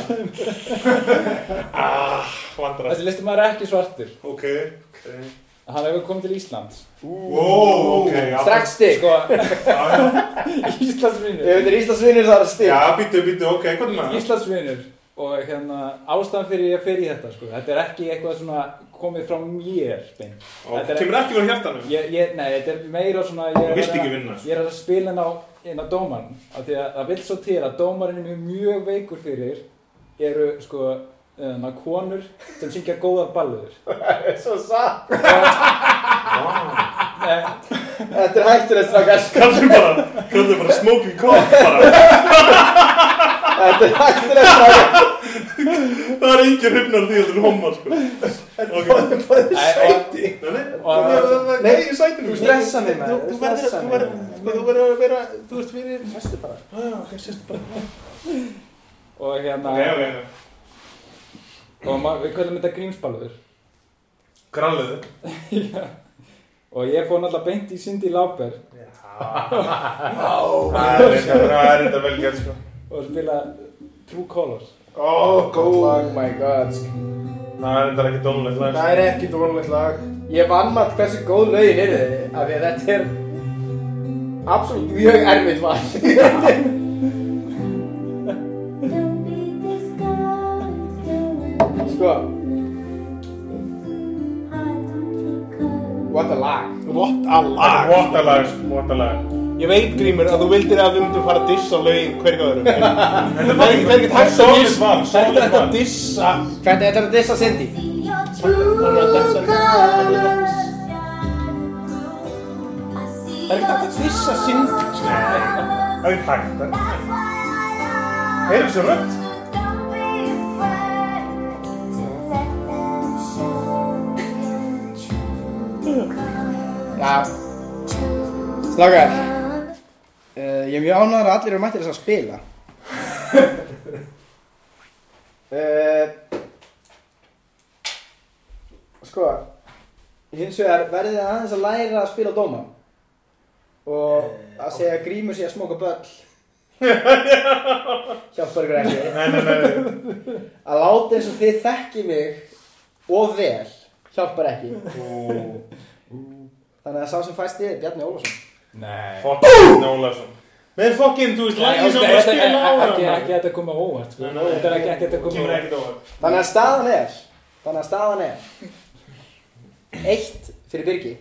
Speaker 5: Ah, vandrast
Speaker 2: Þessi listi maður er ekki svartur
Speaker 5: Ok, ok
Speaker 2: Hann hefur komið til Íslands
Speaker 5: Wow, ok já,
Speaker 1: Strax stig
Speaker 2: Sko
Speaker 5: já, já.
Speaker 1: Ef
Speaker 2: Íslandsvinur
Speaker 1: þetta er Íslandsvinnir það er stig
Speaker 5: Já, býttu, býttu, ok, hvernig maður?
Speaker 2: Íslandsvinur Og hérna ástæðan fyrir ég fyrir þetta sko Þetta er ekki eitthvað svona komið frá mér beint.
Speaker 5: Ó,
Speaker 2: Þetta er-
Speaker 5: Kemur ekki verið hjartanum?
Speaker 2: ég, ég, Nei, þetta er meira svona Ég er
Speaker 5: Þú vilt
Speaker 2: að-
Speaker 5: ekki vinna, sko.
Speaker 2: Ég er að spila inn á, inn á dómarn af Því að það vil svo til að dómarinn er mjög veikur fyrir Eru sko hérna, konur sem syngja góðar
Speaker 3: [laughs]
Speaker 2: balluður
Speaker 1: Svo
Speaker 2: [laughs]
Speaker 1: satt
Speaker 5: Vá.
Speaker 1: Þetta er hættulegt
Speaker 3: [laughs]
Speaker 1: strákar
Speaker 5: Kallum bara, kallum bara smoking cock bara
Speaker 1: Þetta er hættulegt strákar
Speaker 5: Það er engin hrifnar því að þú er homma, sko Ok,
Speaker 2: Sæti og,
Speaker 3: Nei,
Speaker 5: ég sæti
Speaker 1: Þú
Speaker 5: nú
Speaker 1: stressa mig
Speaker 3: Þú
Speaker 1: maður
Speaker 3: þú verður
Speaker 1: stressa
Speaker 3: þú
Speaker 1: mig.
Speaker 3: verður- sko, þú verður að vera, þú veist fyrir
Speaker 1: Sestu bara
Speaker 2: og hérna
Speaker 5: Ok, ok,
Speaker 2: og ma- við kallum þetta grímsballuður
Speaker 5: grannleðu
Speaker 2: og ég fór náttúrulega beint í Cindy Lauper
Speaker 5: Það er reyndar- það er þetta vel gert, sko
Speaker 2: og spila True Colors
Speaker 3: Ó, góð
Speaker 1: Oh my god
Speaker 5: Það er þetta ekki dónulegt lag sko.
Speaker 3: Það er ekki dónulegt lag
Speaker 1: Ég vannmatt hversu góð lögin eru þið af því að þetta er absolutt mjög erfitt
Speaker 3: [laughs]
Speaker 1: val Sko What a lag
Speaker 3: What a lag
Speaker 5: What a lag, sko, what a lag
Speaker 3: Ég veit, Grímur, að þú vildir að við myndum fara að dissa lögin hverju öðrum en Það er ekki- það er ekkert hægt að
Speaker 5: Solid
Speaker 3: dissa Það
Speaker 5: val,
Speaker 3: er
Speaker 5: solid
Speaker 3: ekki hægt
Speaker 5: val.
Speaker 3: að dissa
Speaker 1: Hvernig þetta er að dissa Cindy?
Speaker 3: Það er ekki hægt að dissa sinn
Speaker 5: Það er hægt, það Heyrðu sem rönt
Speaker 1: Já Strákar uh, Ég er mjög ánægður að allir eru mættir þess að [laughs] spila uh, Sko Hins vegar verðið þið aðeins að læra að spila dóma Og
Speaker 5: Eh,
Speaker 1: að segja að grímur sé að smóka
Speaker 5: [laughs]
Speaker 1: böll Hjálpar ykkur ekki
Speaker 5: Nei, nei, nei, nei
Speaker 1: Að láta eins og þið þekki mig og vel Hjálpar ekki
Speaker 5: Ú,
Speaker 1: Þannig að sá sem fæst þið er Bjarni Ólafsson
Speaker 2: Nei
Speaker 5: Fucking Ólason Nei, fucking, þú veist, lagið sem bara
Speaker 2: ekki,
Speaker 5: spila á
Speaker 2: ekki,
Speaker 5: hana.
Speaker 2: ekki þetta koma óvart sko.
Speaker 5: Nei, nei.
Speaker 2: þetta er ekki, ekki þetta koma
Speaker 5: Kemur
Speaker 2: óvart
Speaker 5: ekkert á það
Speaker 1: Þannig að staðan er Þannig að staðan er Eitt fyrir Birgi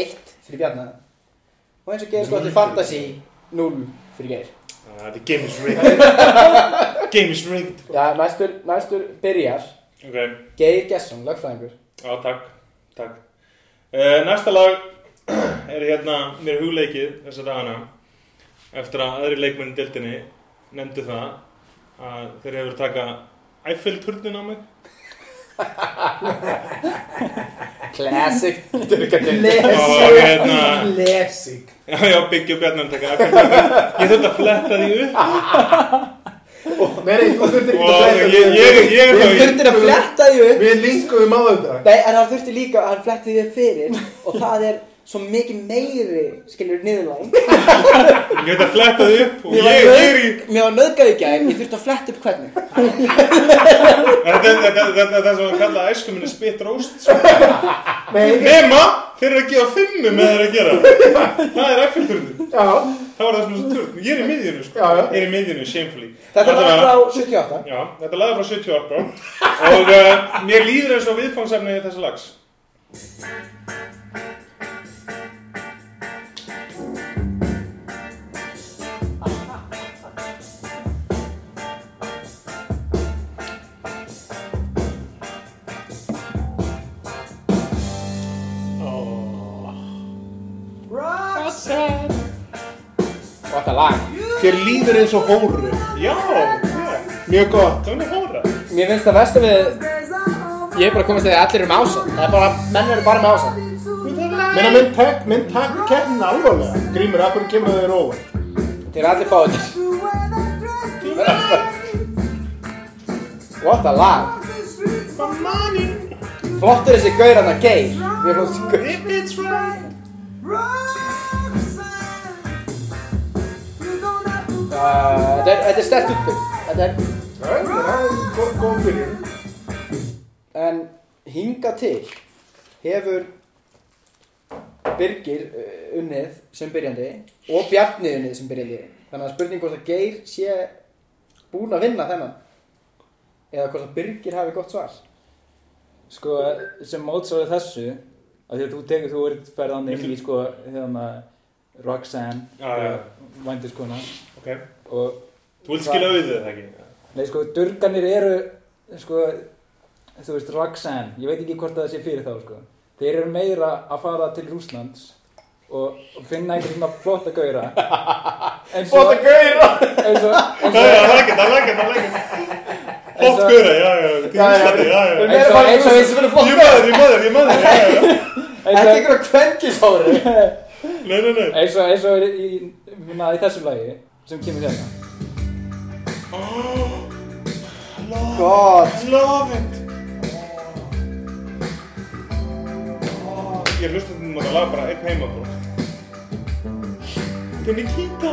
Speaker 1: Eitt fyrir Bjarnar Og eins og gerir slótti Fantasy Núl fyrir Geir
Speaker 5: The Ah, game is [laughs] rigged Game is rigged
Speaker 1: Já, næstur, næstur byrjar
Speaker 5: Ok,
Speaker 1: Geir Gesson, lögfræðingur
Speaker 5: já, takk, takk uh, Næsta lag [clears throat] er hérna mér hugleikið þessa dagana eftir að aðri leikmenn í deildinni nefndu það að þeir hefur taka Eiffel-turnin á mig
Speaker 1: [laughs] Classic
Speaker 5: Og
Speaker 1: Classic
Speaker 5: hérna,
Speaker 3: Classic
Speaker 5: já, já, byggja og bjarnar taka Eiffel-turnin Ég þurfti að fletta því upp
Speaker 3: Nei, þú þurftir ekki að fletta
Speaker 5: Og ég, ég, ég
Speaker 1: Við
Speaker 5: er þá í
Speaker 1: þurftum að fletta því upp
Speaker 3: Við linkum á þetta
Speaker 1: Nei, en hann þurfti líka að hann fletti því upp fyrir og það er svo mikið meiri, skilur, niðurlæg
Speaker 5: Ég veit að fletta því upp og
Speaker 1: Mér
Speaker 5: ég,
Speaker 1: var
Speaker 5: ég er í
Speaker 1: nauð- mér var nöðgæði gæn, ég þurfti að fletta upp hvernig
Speaker 5: Þetta er- þetta- þetta er það sem að kalla æsku minni spit roast sko.
Speaker 3: Nei,
Speaker 5: Nema þeir eru að gefa fimmu með þeir að gera Það er Eiffelturni
Speaker 3: já,
Speaker 5: Það var það sem þessi turn Ég er í miðjunu sko
Speaker 3: Já, já.
Speaker 5: Ég er í miðjunni, shamefully
Speaker 1: Þetta er
Speaker 5: Allavega-
Speaker 1: allt frá 78
Speaker 5: Já, þetta laga frá 70 ára bro. og uh, mér líður eins og viðfangsefni þessa lags
Speaker 2: Og þetta lag
Speaker 3: þér líður eins og hóru
Speaker 5: Já, já,
Speaker 3: Mjög gott
Speaker 5: það er hóra
Speaker 2: Mér finnst það versta við Ég er bara komast að því að allir eru með ása
Speaker 1: Það er bara, menn eru bara með ása
Speaker 3: Menna minn takk, minn takk keppnin alvarlega Grímur, af hverju kemur þau þér óvart?
Speaker 2: Þeir eru allir fáið þess What a lag
Speaker 1: Flottur þessi gaur hann að geir Mér finnst þessi gaur Uh, Þetta er, þetta er stert útbyrg Þetta er
Speaker 3: Góð byrjun
Speaker 1: En hinga til hefur Birgir uh, unnið sem byrjandi og Bjarni unnið sem byrjandi þannig að spurning hvort að Geir sé búinn að vinna þennan eða hvort að Birgir hafi gott svar
Speaker 2: Sko, sem mótsvarið þessu að því að þú tekur, þú ert ferðan inn í sko, hérna Roxanne,
Speaker 5: Já, já.
Speaker 2: vændiskona
Speaker 5: Ok,
Speaker 2: og,
Speaker 5: þú vilt skila auðið það ekki
Speaker 2: nei, sko, durganir eru sko, þú veist, Roxanne ég veit ekki hvort það sé fyrir þá, sko þeir eru meira að fara til Rúslands og og finna einhver svona flotta gauðra flotta
Speaker 3: gauðra
Speaker 2: gauðra
Speaker 5: Það er ekki, það er ekki, það er ekki Hótt gura, já, já, til
Speaker 3: Já, já.
Speaker 5: Íslandi, já, já
Speaker 2: Eins og- eins og- eins og-
Speaker 5: Ég maður, ég maður, ég maður, já, já, já
Speaker 1: Ekki einhverja kvenkisári
Speaker 5: Nei, nei, nei
Speaker 2: eins og, eins og er í, í, na, í þessu lagi sem kemur hérna
Speaker 1: Gott
Speaker 5: Love it Ég hlusta þetta maður að laga bara einn heima, bro Þetta er Nikita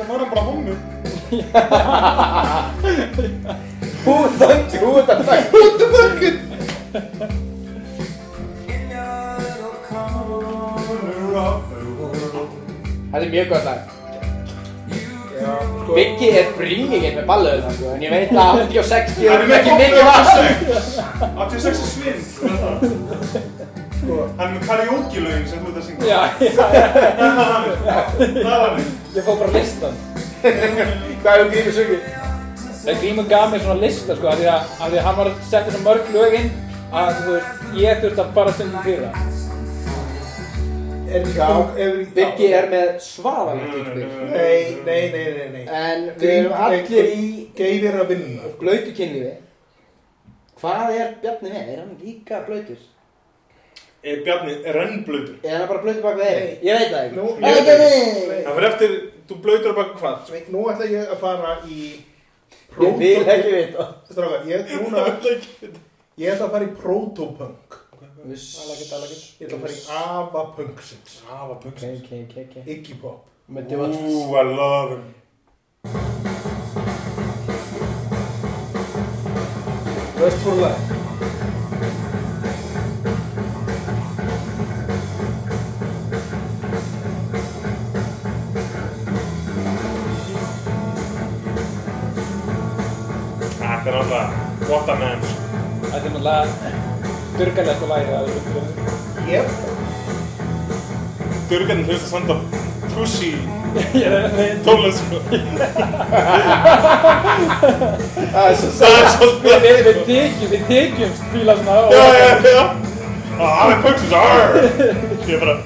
Speaker 5: Sem var hann bara hónu
Speaker 1: Hú þöngi, hú þetta þöngi Hú þetta þöngi Þetta er mjög gott lag Biggi er bringingin með ballöðu sko, en ég veit að 86
Speaker 5: Hann er
Speaker 1: erum
Speaker 5: með
Speaker 1: ekki mikið vassum
Speaker 5: 86 er svinn, þú veist það Hann er með karaoke-lögin sem þú ert að syngja
Speaker 2: já, já,
Speaker 5: Það er hann, það er hann
Speaker 2: ég fór bara listan
Speaker 1: Hvað hefur Grími sungið?
Speaker 2: Þegar Grímur gaf mér svona lista sko, af því að, af því að hann var að setja svo mörg lögin að þú veist, ég þurfti að fara stundum fyrir það.
Speaker 1: Biggi er með svaðalegt útbyrg
Speaker 3: Nei, nei, nei, nei, nei
Speaker 1: En við erum allir í
Speaker 3: Geir er að vinna
Speaker 1: blöytu kynlífi Hvað er Bjarni með? Er hann líka blöytur?
Speaker 5: Er Eh, Bjarni rennblöytur?
Speaker 1: Er hann bara blöytur bak við þeir? Ég veit það
Speaker 3: Nú,
Speaker 1: ekki Ekki
Speaker 3: ég
Speaker 1: við
Speaker 5: Það fyrir eftir, þú blöytur bara hvað?
Speaker 3: Sveik, nú ætla ég að fara í
Speaker 1: Ég vil ekki vita
Speaker 3: Stráka, ég, núna, ég ætla að fara í protopunk
Speaker 1: Alakit, alakit
Speaker 3: Ég ætla að fara í avapunksins
Speaker 5: Rafa
Speaker 1: Ok,
Speaker 5: pöksin
Speaker 1: ok, ok, ok
Speaker 3: Iggy Pop
Speaker 1: Með divans
Speaker 5: Ooh, I love him
Speaker 3: Rest for life
Speaker 5: Þetta er alltaf, what a man sko.
Speaker 2: Þetta er náttúrulega durgalegt að læra að þú veist.
Speaker 3: Yep
Speaker 5: Dörgarnir hlust að senda pussy
Speaker 2: Ég veit,
Speaker 5: tónlist sko.
Speaker 1: Það er svo
Speaker 5: Það er svolítið
Speaker 2: við, við tekjum, við tekjum fíla svona og...
Speaker 5: Já, já, já Ah, Það er pöksin, arr Ég er bara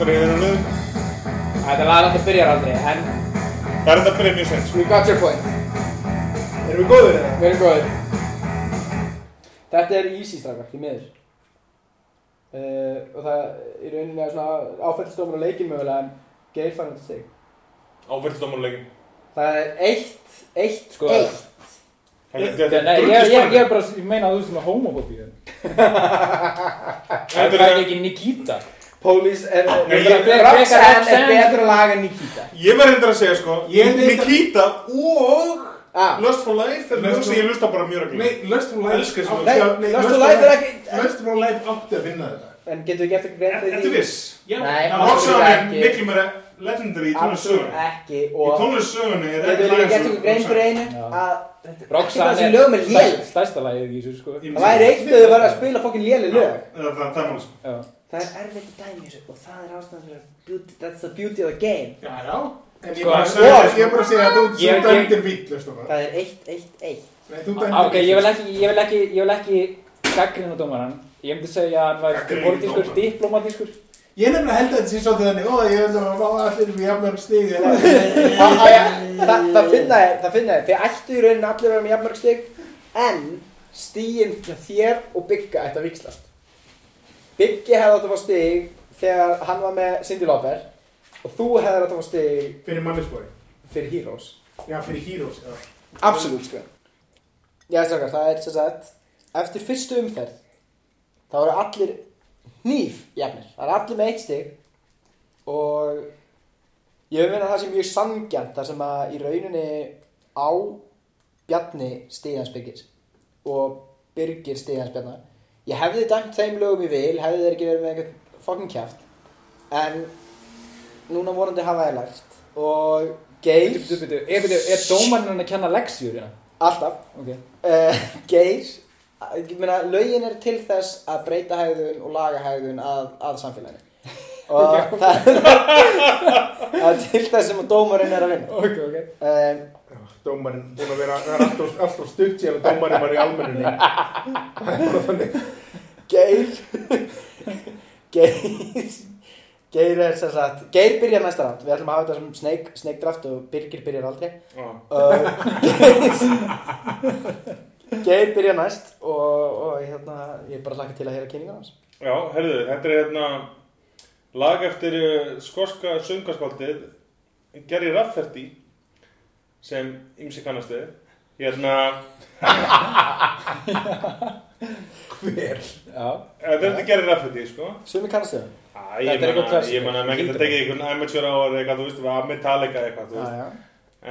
Speaker 5: Breiður og niður
Speaker 2: Þetta er lagar alltaf byrjar aldrei, en
Speaker 5: Það er þetta að byrja mjög sent sko.
Speaker 1: We got your point
Speaker 3: Erum við góðir eða?
Speaker 1: Við erum góðir Þetta er easy strafgar, því miður Eh, uh, og það í rauninni er svona áfællstofur á leikin mögulega en Geir fær undir sig
Speaker 5: Áfyrstdómanuleikin
Speaker 1: það er eitt, eitt,
Speaker 2: Sko,
Speaker 1: eitt
Speaker 2: Nei,
Speaker 5: Þetta
Speaker 2: nei, ég, ég, ég
Speaker 5: er drullispennu
Speaker 2: er bara, ég meina að þú sem er homofóbíu. Það
Speaker 5: Þetta
Speaker 2: er
Speaker 5: er
Speaker 2: ekki Nikita.
Speaker 1: Pólís er,
Speaker 5: Nei,
Speaker 1: er
Speaker 2: ég-
Speaker 1: Roxanne er
Speaker 2: Roxanne-
Speaker 1: betra lag en Nikita
Speaker 5: Ég verði hendur að segja sko
Speaker 4: Ég veit að-
Speaker 5: Nikita og
Speaker 1: ah,
Speaker 5: Lust for Life er
Speaker 4: Lust
Speaker 5: lög sem
Speaker 4: for-
Speaker 5: ég lusta bara mjög reglulega
Speaker 4: Nei, Lust for Life
Speaker 5: Elskar þessu
Speaker 4: átti
Speaker 5: lög.
Speaker 1: Nei,
Speaker 4: að- nei,
Speaker 1: Lust
Speaker 4: Lust
Speaker 1: for
Speaker 4: for
Speaker 1: Life er
Speaker 4: Life-
Speaker 1: ekki-
Speaker 4: Lust for Life átti að vinna þetta
Speaker 1: en getur við gert ekki grein
Speaker 5: Er- Ertu viss?
Speaker 4: Já,
Speaker 1: Nei.
Speaker 4: það var-
Speaker 5: Roxanne er
Speaker 1: ekki.
Speaker 5: miklu meira legendary í
Speaker 1: absolutt sko.
Speaker 5: tónlistsögunni
Speaker 1: ekki
Speaker 5: Í
Speaker 1: og
Speaker 5: tónlistsögunni er
Speaker 1: getur við
Speaker 5: lag
Speaker 1: ekki gert
Speaker 5: sem-
Speaker 1: ekki grein fyrir einu
Speaker 2: Já.
Speaker 1: að þetta er ekki
Speaker 2: Roxanne
Speaker 1: það sem lögum er lél
Speaker 2: stærst- stærsta lagið í þessu, sko.
Speaker 5: Ég-
Speaker 1: það væri eitt að þau verða að spila fokkin léli
Speaker 5: Já,
Speaker 1: lög
Speaker 5: Það það- það er sko. mális
Speaker 2: Já.
Speaker 1: það er erfitt að dæmi þessu og það er ástæðan fyrir að beauty, that's the beauty of the game
Speaker 4: Já, já. En ég
Speaker 2: Sko,
Speaker 4: bara
Speaker 2: en-
Speaker 4: segi- ég er bara að segja að þú
Speaker 2: Ég-
Speaker 4: þú
Speaker 2: ég-
Speaker 4: dæmdir villust og það.
Speaker 1: það er eitt, eitt, eitt
Speaker 4: Nei, þú
Speaker 2: Á, Ah, Ok, ég vil
Speaker 4: dæmdir villust.
Speaker 2: ekki, ég vil ekki, ég vil ekki gaggrina dómaran. Ég myndi segja að hann væri
Speaker 5: Gagnrýna
Speaker 2: politískur,
Speaker 5: dómarann.
Speaker 2: diplomatískur.
Speaker 4: Ég nefnilega held að þetta sé svolítið þannig, ó, ég vil að fá allir við jafnmörg stig. en-
Speaker 1: [laughs] það, það, það finna ég, það finna ég þið ættu í rauninni allir að vera með jafnmörg stig en stíin þér og Bigga ætti að vikslast Biggi hefði átt að fá stig þegar hann var með Cindy Lauper og þú hefði átt að fá stig
Speaker 4: Fyrir mannisbói.
Speaker 1: fyrir Heroes
Speaker 4: Já, fyrir Heroes, já.
Speaker 1: Absolutt, sko. Já, strákar, það er sem sagt, eftir fyrstu umferð, þá eru allir hníf jafnir. Það eru allir með eitt stig og ég vil meina að það sé mjög sangjant þar sem að í rauninni á Bjarni stigans Birgir og Birgir stigans Bjarnar. Ég hefði dæmt þeim lögum í vil, hefði þeir ekki verið með eitthvað fucking kjæft, en núna vorandi hafa ég lært og Geir,
Speaker 2: Bitu, bitu, er, bitu, er dómarinn hann að kenna leksjur, já?
Speaker 1: alltaf,
Speaker 2: Ok.
Speaker 1: uh, Geir ég meina, lögin er til þess að breyta hægðun og laga hægðun að, að samfélaginu og það, það er til þess sem að dómarinn er að vinna
Speaker 2: Ok, ok.
Speaker 1: um,
Speaker 4: Dómarinn, búin að vera, það er alltaf, alltaf stutt síðan að dómarinn var í almenninni. Það er bara þannig.
Speaker 1: Geir [laughs] Geir Geir er sem sagt Geir byrjar næsta rátt, við ætlum að hafa þetta sem snake, snake draft og Birgir byrjar aldrei uh, Geir- [laughs] Geir byrjar næst og, og hérna, ég bara hlakka til að heyra kynningar hans
Speaker 5: Já, herðu, þetta er hérna lag eftir uh, skoska söngaskvaldið Gary Rafferty sem ymsi kannast við hérna,
Speaker 4: Hver?
Speaker 2: Já.
Speaker 5: þetta er eh, þetta Gary Rafferty sko.
Speaker 1: Sumi kannast þau?
Speaker 5: Æ,
Speaker 2: Þetta er
Speaker 5: ég
Speaker 2: eitthvað
Speaker 5: manna,
Speaker 2: klassík.
Speaker 5: ég manna, maður getur
Speaker 2: Hlýtur.
Speaker 5: tekið einhvern amateur ára eitthvað, þú veist, að Metallica eitthvað, þú
Speaker 1: Já,
Speaker 5: veist
Speaker 1: já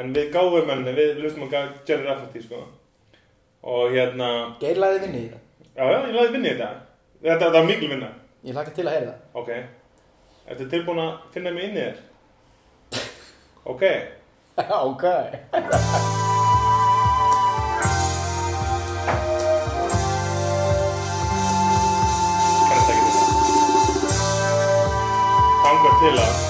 Speaker 5: en við gáum henni, við lustum að Gary Rafferty sko. og hérna
Speaker 1: Geir laði vinni í það.
Speaker 5: já, já, ég laði vinna í þetta þetta, þetta var mikil vinna
Speaker 1: Ég hlakka til að heyra það.
Speaker 5: Ok, ertu tilbúin að finna mig inn í þér? Ok,
Speaker 1: [laughs] ok.
Speaker 5: kannast ekki þetta. Þangar til að...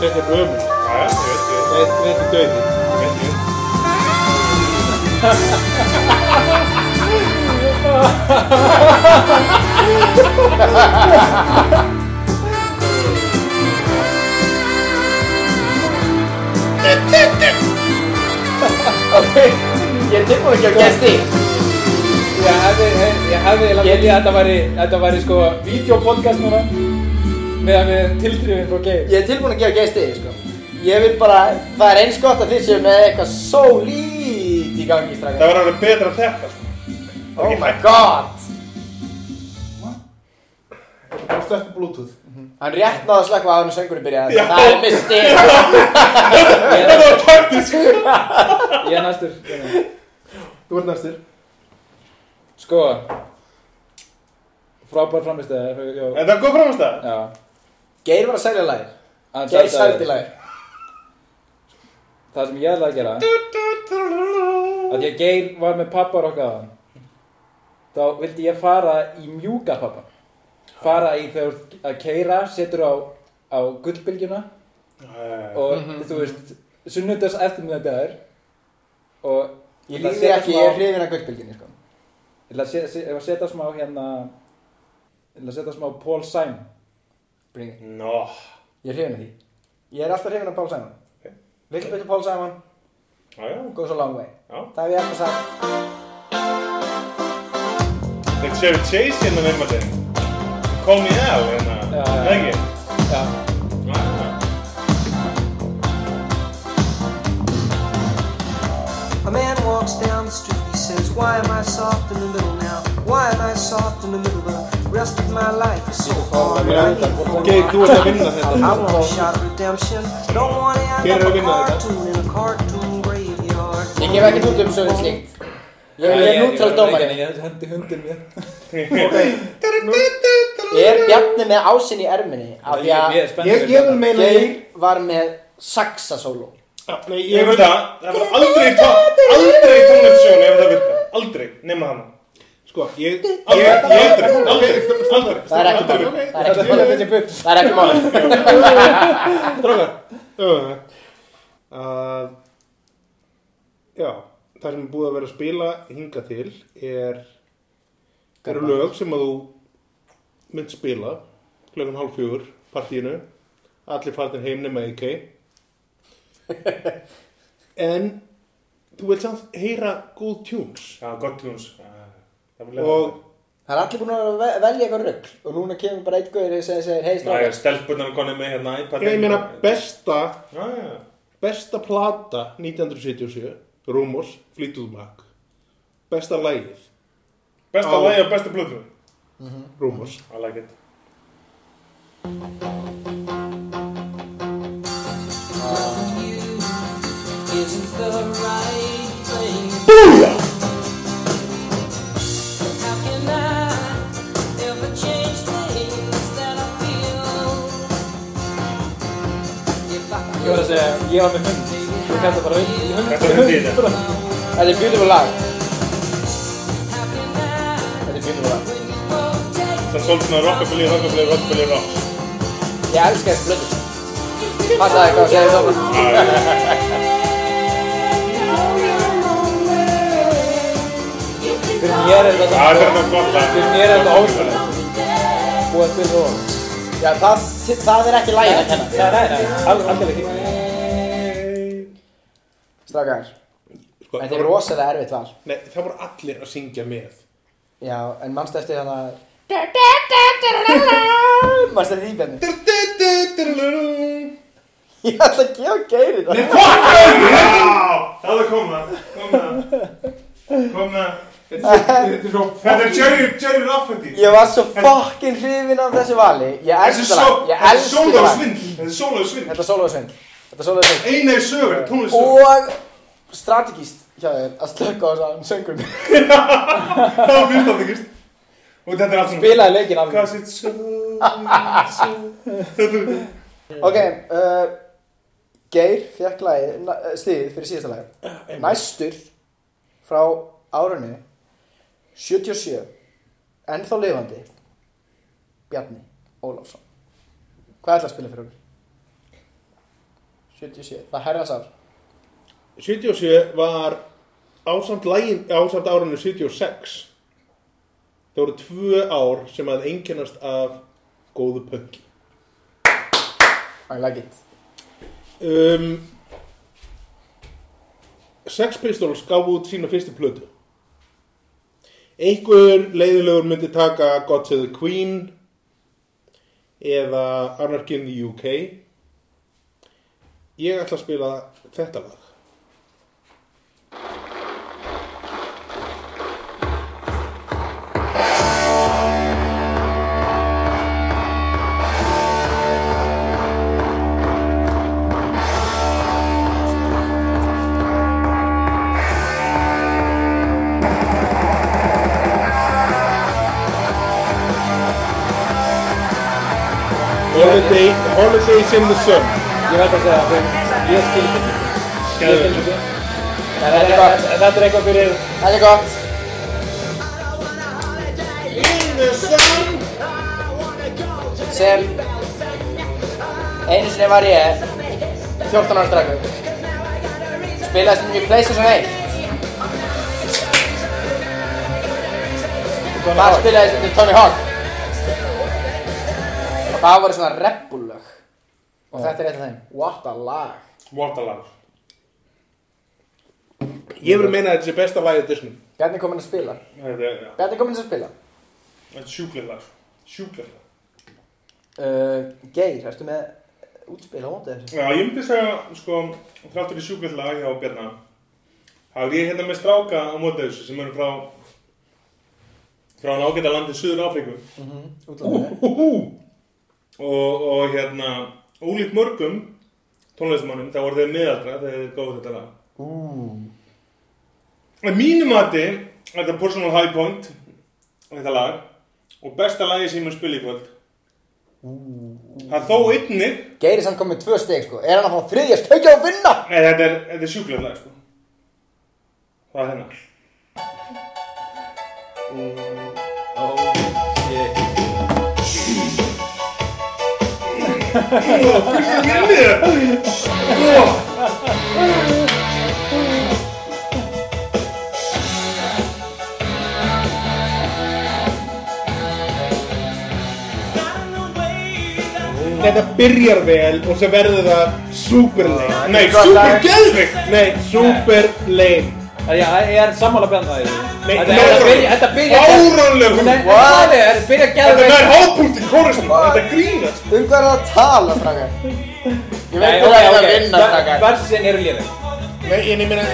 Speaker 4: Þetta er ömur.
Speaker 5: Jæja, ég veit, ég veit,
Speaker 4: Þetta þetta er döðið.
Speaker 5: ég veit, ég veit.
Speaker 1: Ég er tilbúin ekki að gefa stík.
Speaker 2: Ég hefði, ég hefði, ég hefði, þetta væri, þetta væri sko, videopodcast núna, meðan við tilþrifum frá Geir.
Speaker 1: Ég er tilbúin að gefa gefa stík, sko. Ég vil bara, það er eins gott að þið séu með eitthvað svo lít í gangi
Speaker 5: Það
Speaker 1: strákar.
Speaker 5: var alveg betra en þetta, sko.
Speaker 1: Oh my god.
Speaker 4: Það er slett Bluetooth.
Speaker 1: Mhm. Hann rétt náði að slakka á hann og söngurinn byrjaði.
Speaker 5: Já.
Speaker 1: Það er mitt stík.
Speaker 5: Þetta var taktisk!
Speaker 2: [laughs] Ég er næstur. Ég er næstur.
Speaker 4: Þú ert næstur.
Speaker 2: Sko Frábær framistæði Já,
Speaker 5: Þetta er góð framast það.
Speaker 2: já.
Speaker 1: Geir var að selja lægir.
Speaker 2: Hann
Speaker 1: Geir
Speaker 2: seldi lagið.
Speaker 1: seldi lægir.
Speaker 2: Það sem ég ætla að gera Að því að Geir var með pappa rokkaðan Þá vildi ég fara í mjúka pappa Fara í þegar þú ert að keira Setur á, á gullbylgjuna Og þú veist Sunnudags eftirmiðadagur Og
Speaker 1: Ég
Speaker 2: ætla að
Speaker 1: líði
Speaker 2: setja
Speaker 1: ekki,
Speaker 2: smá-
Speaker 1: ég er hrifin af gullbylginni, sko.
Speaker 2: Ég ætla að se- se- ég ætla að setja smá hérna Ég ætla að setja smá Paul Simon
Speaker 1: Bringi.
Speaker 5: Nó.
Speaker 1: Ég er hrifin af því. Ég er alltaf hrifin af Pál Sæman.
Speaker 5: Ok.
Speaker 1: Viltu betur Pál Sæman?
Speaker 5: Já, já,
Speaker 1: Goes a long way.
Speaker 5: já.
Speaker 1: Það hef ég alltaf sagt.
Speaker 5: Þegar Chevy Chase hérna með maður þeim. Call me now, hérna.
Speaker 2: Já, já,
Speaker 5: Það ekki?
Speaker 2: Já.
Speaker 5: Já.
Speaker 6: A man walks down the street, he says, Why am I soft in the middle now? Why am I soft in the middle? The rest of my life is so hard. I need for
Speaker 3: Ok, þú ert að vinna
Speaker 6: I
Speaker 3: þetta
Speaker 6: want a shot of redemption. Don't want to end
Speaker 3: Get
Speaker 6: up
Speaker 3: her
Speaker 6: a
Speaker 3: in there,
Speaker 6: cartoon in a cartoon graveyard.
Speaker 7: Ég gef ekki út um svona slíkt. Ég
Speaker 2: Ég
Speaker 7: ég er nútrál dómari.
Speaker 2: Ég hendi hundin mér.
Speaker 7: Er Bjarni með ásinn í erminni? Af því að
Speaker 2: Ég er spenntur
Speaker 3: Ég gefur meina
Speaker 7: Geir
Speaker 3: ég
Speaker 7: var með saxasóló.
Speaker 3: Nei,
Speaker 5: Ég
Speaker 3: ég
Speaker 5: veit það, það var aldrei í tónlist, aldrei í tónlistsjónu ef það virka. Aldrei, nema hana.
Speaker 3: Sko, ég
Speaker 5: Aldrei,
Speaker 3: Ég
Speaker 5: aldrei, aldrei, aldrei.
Speaker 7: Það
Speaker 3: Ok,
Speaker 7: er ekki málið. Það er ekki málið. Það er ekki málið.
Speaker 3: Strákar uh, uh, Já Það sem er búið að vera að spila hinga til er eru lög sem að þú mynd spila klukkan hálf fjögur partíinu allir farnir heim nema EK en þú vilt samt heyra góð tunes
Speaker 5: Já, gott tunes. Það var leiðilegt.
Speaker 3: og
Speaker 1: Það er allir búin að ve- velja eitthvað rugg og núna kemur bara eitt gauðir sem segir hei
Speaker 5: Það
Speaker 1: strákar.
Speaker 5: er stelpunar konið með hérna iPad.
Speaker 3: ég meina besta
Speaker 5: Já, já.
Speaker 3: besta plata 1977 Rumors, Fleetwood Mac besta lægið
Speaker 5: Besta
Speaker 3: Á.
Speaker 5: lagi og besta blödu.
Speaker 3: Rumors
Speaker 5: I like it.
Speaker 6: Isn't the right thing? How can I ever change things that I feel? If I
Speaker 2: Ég var að segja, ég var með hund. Ég kalla bara hund. Ég hund.
Speaker 5: Þetta er hundið í þetta.
Speaker 7: Þetta er beautiful lag.
Speaker 6: how can I
Speaker 7: Þetta er beautiful lag.
Speaker 6: when you both take
Speaker 5: Það er svolítið svona rockabilly, rockabilly, rockabilly, rock.
Speaker 7: Ég elska þessu blödu. Passaði eitthvað að segja þér svona.
Speaker 5: Já, já, já.
Speaker 2: Fyrir mér er þetta
Speaker 5: Já, þetta er þetta gott lag.
Speaker 2: Fyrir mér er þetta ótrúlega. Búið að spila og...
Speaker 7: Já, það, það er ekki lægin að kenna.
Speaker 2: Nei, nei, nei. al- Algjörlega ekki.
Speaker 1: Strákar,
Speaker 3: sko,
Speaker 1: þetta er rosalega erfitt val.
Speaker 3: Nei, það voru allir að syngja með.
Speaker 1: Já, en mannstu eftir þannig að... Mannstu eftir því bennið? Ég ætla að gefa geiri það.
Speaker 5: Það er komna, komna, komna.
Speaker 3: Þetta er svo...
Speaker 5: Þetta er Jerry, Jerry Rafferty.
Speaker 1: Ég var svo fucking hrifin af þessu vali. Ég
Speaker 5: Þessi
Speaker 1: elska það.
Speaker 5: sól,
Speaker 1: Ég
Speaker 5: þessi
Speaker 1: elska
Speaker 5: sól á
Speaker 1: það.
Speaker 5: svindl, þessi sól á svindl.
Speaker 1: Þetta er sólagsvind. Þetta er sólagsvind.
Speaker 5: Einari sögur, tónlistsögur.
Speaker 1: Og strategist hjá þér að slökka á þessu söngum.
Speaker 5: Það var mjög státtingist. Og þetta er allt svona.
Speaker 2: Spilaði leikinn alveg.
Speaker 5: Cause it's so, so. Þetta er,
Speaker 1: Ok, uh, Geir fekk lagið, na- eh, stigið fyrir síðasta lagi Næstur frá árunni 77 ennþá lifandi Bjarni Ólafsson Hvað ætla að spila fyrir okkur? 77, það herðas ár
Speaker 3: 77 var ásamt, lægin, ásamt árinu 76. Það voru tvö ár sem að einkennast af góðu pönki.
Speaker 1: I like it
Speaker 3: Um, Sex Pistols gaf út sína fyrstu plötu. Einhver leiðilegur myndi taka God Save the Queen eða Anarchy in the UK. Ég ætla að spila þetta lag. Holiday, Holidays in the Sun.
Speaker 2: Ég verð bara að segja að þeim- ég skil þetta ekki. Ég skil þetta ekki. En þetta er gott. En þetta er eitthvað fyrir...
Speaker 7: Þetta er gott. sem einu sinni var ég 14 ára strakku spilaði sem ég pleysi sem eitt það spilaði sem Tony Hawk og það voru svona reppulög og þetta er eitt af þeim
Speaker 1: What a lag
Speaker 5: What a love.
Speaker 3: Ég vil meina að þetta sé besta lagið Disney.
Speaker 1: Bjarni kominn að spila
Speaker 5: Þetta er, já,
Speaker 1: Bjarni kominn að spila
Speaker 5: þetta er sjúklega lag, sko. Sjúklega lag.
Speaker 1: uh, Geir, ertu með útspil á mótið þessu?
Speaker 5: Já, ég myndi segja, sko, þráttur í sjúklega lag hjá Bjarna. Það er ég hérna með stráka á móti þessu sem eru frá, frá nágæta landið Suður Afríku.
Speaker 1: Útlandinu
Speaker 5: og, og hérna ólíkt mörgum tónlistamannum þá voru þeir miðaldra þegar þeir góðu þetta lag að mínu mati er þetta personal high point þetta lag og besta lagi sem ég mun spila í kvöld það er þó einnig
Speaker 1: Geir er samt komið tvö steg sko Er hann að fá þriðja stökja og vinna?
Speaker 5: Nei, þetta er, þetta er sjúklega lag, sko. Það er hennar.
Speaker 3: Þetta byrjar vel og svo verður það super lame.
Speaker 5: Nei,
Speaker 3: super geðvikt! Nei, super lame.
Speaker 2: Já, ég er sammála bjarna því.
Speaker 3: Nei,
Speaker 2: Þetta-
Speaker 3: nei,
Speaker 2: þetta
Speaker 3: nei.
Speaker 2: byrja- Þetta byrja...
Speaker 5: Fáránleg hún.
Speaker 2: Nei, Þetta er byrja að
Speaker 5: Þetta
Speaker 2: geða
Speaker 5: er nær hápunkt í kóristum. Þetta grínast.
Speaker 1: Um hvað er það að tala, strákar? Ég
Speaker 2: Nei,
Speaker 1: veit
Speaker 2: ok,
Speaker 1: að það er að
Speaker 2: ok,
Speaker 1: vinna,
Speaker 2: ver-
Speaker 1: strákar
Speaker 2: Versin eru liðið.
Speaker 3: Nei, en ég meina,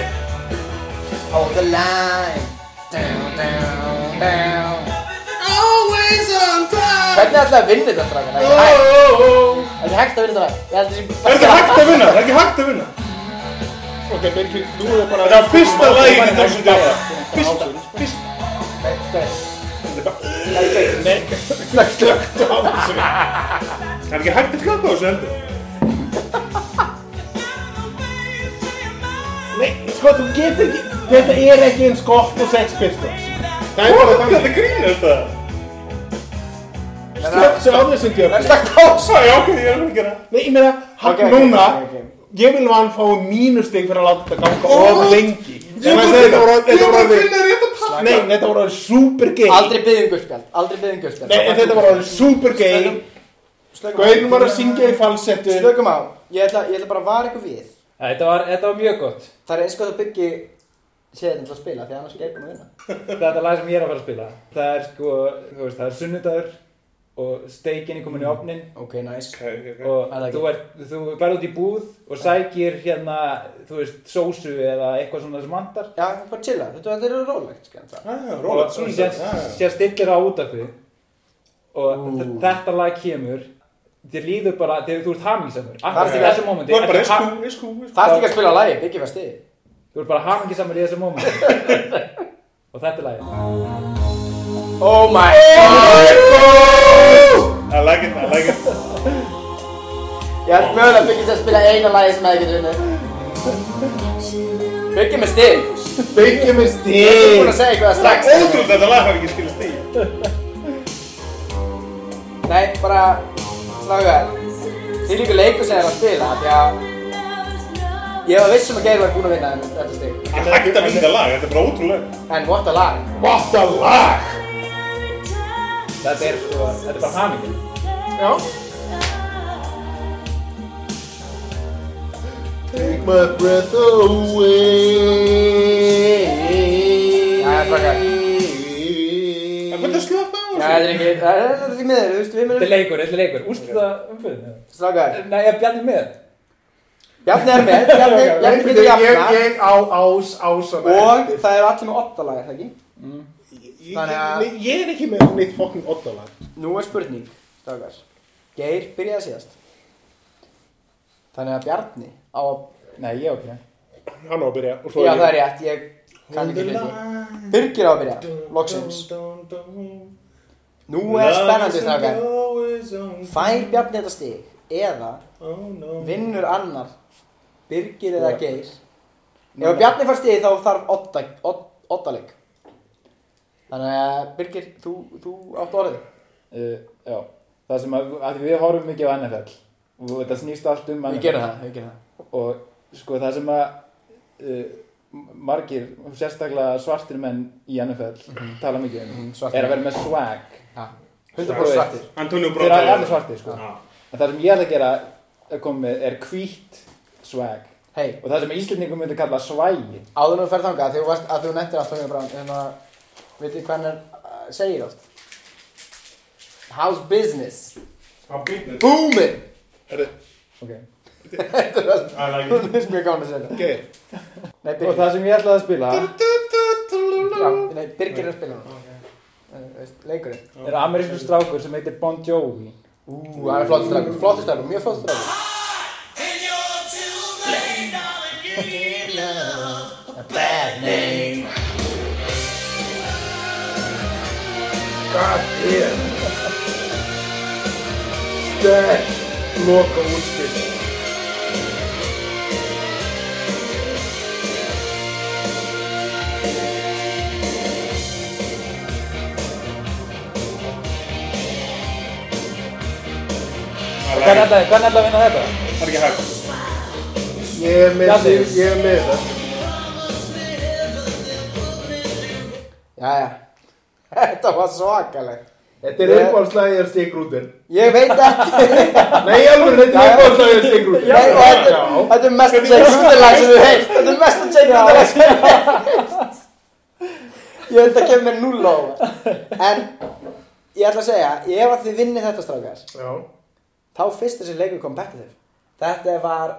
Speaker 1: On the line Down, down, down Hvernig ætlaði að vinna þetta, strákar? Það er hægt- það er ekki hægt að vinna þetta Ég held að það sé
Speaker 5: Er þetta hægt að vinna? Það er ekki hægt að vinna.
Speaker 3: ok, Birgir, nú er bara...
Speaker 5: Þetta er fyrsta lagið í þessu djáta.
Speaker 3: Fyrst, fyrst,
Speaker 5: Það er ekki hægt að klappa á þessu heldur.
Speaker 3: nei, sko, þú getur ekki, þetta er ekki eins gott og sex pistols. Það er bara
Speaker 5: Hvað
Speaker 3: þannig.
Speaker 5: þetta grínast það?
Speaker 3: Slökk sér á þessum djöfnum.
Speaker 1: Slögt á
Speaker 5: Sá, já, ok, ég er alveg að gera. það.
Speaker 3: Nei, ég meina, hann
Speaker 1: Ok, ok,
Speaker 3: núna,
Speaker 1: ok,
Speaker 3: ég vil nú að hann fái mínustig fyrir að láta þetta ganga of lengi. Ég
Speaker 5: Ég
Speaker 3: meina,
Speaker 5: voru-
Speaker 3: þetta voru,
Speaker 5: Ég
Speaker 3: þetta
Speaker 5: var
Speaker 3: voru,
Speaker 5: að
Speaker 3: orðið-
Speaker 5: finna rétt að tala.
Speaker 3: nei, þetta voru super gay.
Speaker 1: Aldrei byggðum guldspjald, aldrei um byggðum guldspjald
Speaker 3: Nei, en þetta voru super gay. Gauðin var að syngja í falsettu.
Speaker 1: Slökum á, ég ætla, ég ætla bara að vara ykkur við
Speaker 2: Þetta var, þetta var mjög gott.
Speaker 1: Það er eins og það byggi séðin hérna til að spila því annars er Geir komið að vinna
Speaker 2: Þetta er lag sem ég er að fara að spila. Það er sko, þú veist, það er sunnudagur og steikin er
Speaker 5: Mm.
Speaker 2: komin í opnin
Speaker 1: Ok, nice
Speaker 5: Ok, ok, ok.
Speaker 2: og
Speaker 1: I like
Speaker 2: þú, er, þú verður út í búð og sækir hérna, þú veist, sósu eða eitthvað svona sem andar
Speaker 1: Já, bara chilla, þetta þetta er rólegt sko, en það.
Speaker 5: Ah,
Speaker 2: og
Speaker 5: Rólat, svona
Speaker 2: sér, sér stillir á útarpi og þe- þetta lag kemur þér líður bara, þegar þú ert hamingisamur akkur
Speaker 1: Þarftu
Speaker 2: í
Speaker 1: ekki-
Speaker 2: þessu mómenti
Speaker 5: Þú er bara
Speaker 2: ertu ha-
Speaker 5: iskú, iskú, iskú.
Speaker 1: Það er ekki að spila lagi, byggi var stið
Speaker 2: þú ert bara hamingisamur í þessu mómenti
Speaker 5: [laughs]
Speaker 2: og þetta er lagið
Speaker 1: Oh my god
Speaker 5: I like it, I like it.
Speaker 1: Ég held mögulega byggið sér að spila eina lagi sem hefði getur unnið Byggið með stið
Speaker 3: Byggjum við
Speaker 1: Ég er búin
Speaker 3: stíl.
Speaker 1: að segja eitthvað strax
Speaker 5: Ótrúld þetta lag hafi ekki skilast í.
Speaker 1: Nei, bara Slagar Þið líka leikur sem er að spila Því að Ég var vissum að Geir var búinn að vinna en þetta stig
Speaker 5: Það er hægt að vinna þetta lag, þetta er bara ótrúlega.
Speaker 1: En what a lag
Speaker 3: What a lag!
Speaker 2: þetta er, sko, þetta er bara hamingin
Speaker 3: Já. Take my breath away.
Speaker 1: Jæja, krakkar.
Speaker 5: En hvernig er slökkt á
Speaker 1: Nei,
Speaker 5: þessu?
Speaker 1: þetta er ekki Það er þetta er því miður, þú veist, við
Speaker 2: þetta er
Speaker 1: munum
Speaker 2: leikur, þetta er leikur, úrstu það umfyrir
Speaker 1: Slagar
Speaker 2: nei, ég bjarni með
Speaker 1: Bjarni er með, Bjarni, Bjarni
Speaker 3: Ég,
Speaker 1: getur
Speaker 3: ég,
Speaker 1: jafna
Speaker 3: ég á ás, ás að
Speaker 1: Og það eru allir með otta lag, er það ekki? þannig að-
Speaker 3: Nei, ég er ekki með neitt fokkin ottalag.
Speaker 1: Nú er spurning, Slagar Geir byrjaði síðast Þannig að Bjarni á
Speaker 2: nei, ég ok
Speaker 3: Hann á að byrja og svo
Speaker 1: Já, það er
Speaker 3: ég.
Speaker 1: rétt, ég kann ekki hluti Birgir á að byrja, loksins Nú er spennandi, Slagar Fær Bjarni þetta stig eða vinnur annar Birgir eða Geir Ef Bjarni fær stig þá þarf Odda- Odd- Oddaleg Þannig að Birgir, þú, þú átt orðið
Speaker 2: Uh, já, það sem að, að því við horfum mikið á NFL og þetta snýst allt um
Speaker 1: Við gerum það, við gerum það
Speaker 2: það og sko það sem að uh, margir, sérstaklega svartir menn í NFL tala mikið um,
Speaker 1: Mhm. svartir
Speaker 2: er að vera með swag
Speaker 1: ja.
Speaker 2: Þú
Speaker 1: 100%
Speaker 2: veist,
Speaker 1: svartir
Speaker 5: Antonio
Speaker 2: þeir
Speaker 5: Brown.
Speaker 2: eh, eru allir svartir sko en það sem ég ætla að gera að koma með er hvítt swag
Speaker 1: Hei,
Speaker 2: og það sem Íslendingum myndi kalla svægi
Speaker 1: áður nú ferð þangað þegar þú varst að þú nettir allt þangað fram þannig að hérna, vitið hvað hann uh, segir oft How's business? [laughs]
Speaker 5: How business?
Speaker 1: Booming!
Speaker 2: okay.
Speaker 1: [laughs]
Speaker 5: I like it.
Speaker 1: Það er mjög gaman að segja
Speaker 3: Ok,
Speaker 1: þetta Nei,
Speaker 2: og
Speaker 1: Birgir,
Speaker 2: það sem ég ætlaði að spila
Speaker 1: já, nei, Birgir er að spila hann okay. Leikurinn
Speaker 2: er amerísku strákur sem heitir Bon Jovi
Speaker 1: Ú, það er flottur strákur, flottur strákur, mjög flottur strákur
Speaker 3: loka útspil
Speaker 5: I like
Speaker 2: hvernig
Speaker 5: it.
Speaker 2: ætlaði hvern ætlaði að vinna þetta?
Speaker 5: Það er ekki hægt.
Speaker 3: Ég er með,
Speaker 2: Bjarni.
Speaker 3: ég er með þetta
Speaker 1: Jæja, [laughs] þetta var svakalegt
Speaker 3: Þetta er
Speaker 1: Ég-
Speaker 3: uppáhaldslagið er Stig Grúter
Speaker 1: Ég veit ekki
Speaker 3: Nei, alveg, þetta er
Speaker 1: Já.
Speaker 3: uppáhaldslagið er Stig Grúter
Speaker 1: Nei, og þetta, þetta er mest Jake Rúderlag sem við heilt Þetta er mest Jake Rúderlag sem við heilt Ég held að kemur mér null á óvart. En ég ætla að segja Ef að þið vinnið þetta strákar
Speaker 3: Já,
Speaker 1: Þá fyrst þessi leikur competitive Þetta var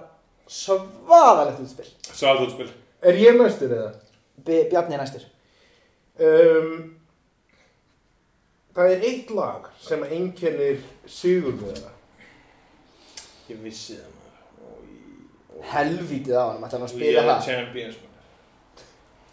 Speaker 1: svaðalegt útspil
Speaker 5: Svæðið útspil.
Speaker 3: er ég mestur eða?
Speaker 1: B Bjarni er næstur
Speaker 3: Um, það er eitt lag sem einkennir sigur með það
Speaker 5: Ég vissi það maður.
Speaker 1: Helvítið á hann, ætla hann að
Speaker 5: Ég
Speaker 1: spila
Speaker 5: er
Speaker 1: það
Speaker 5: champions maður.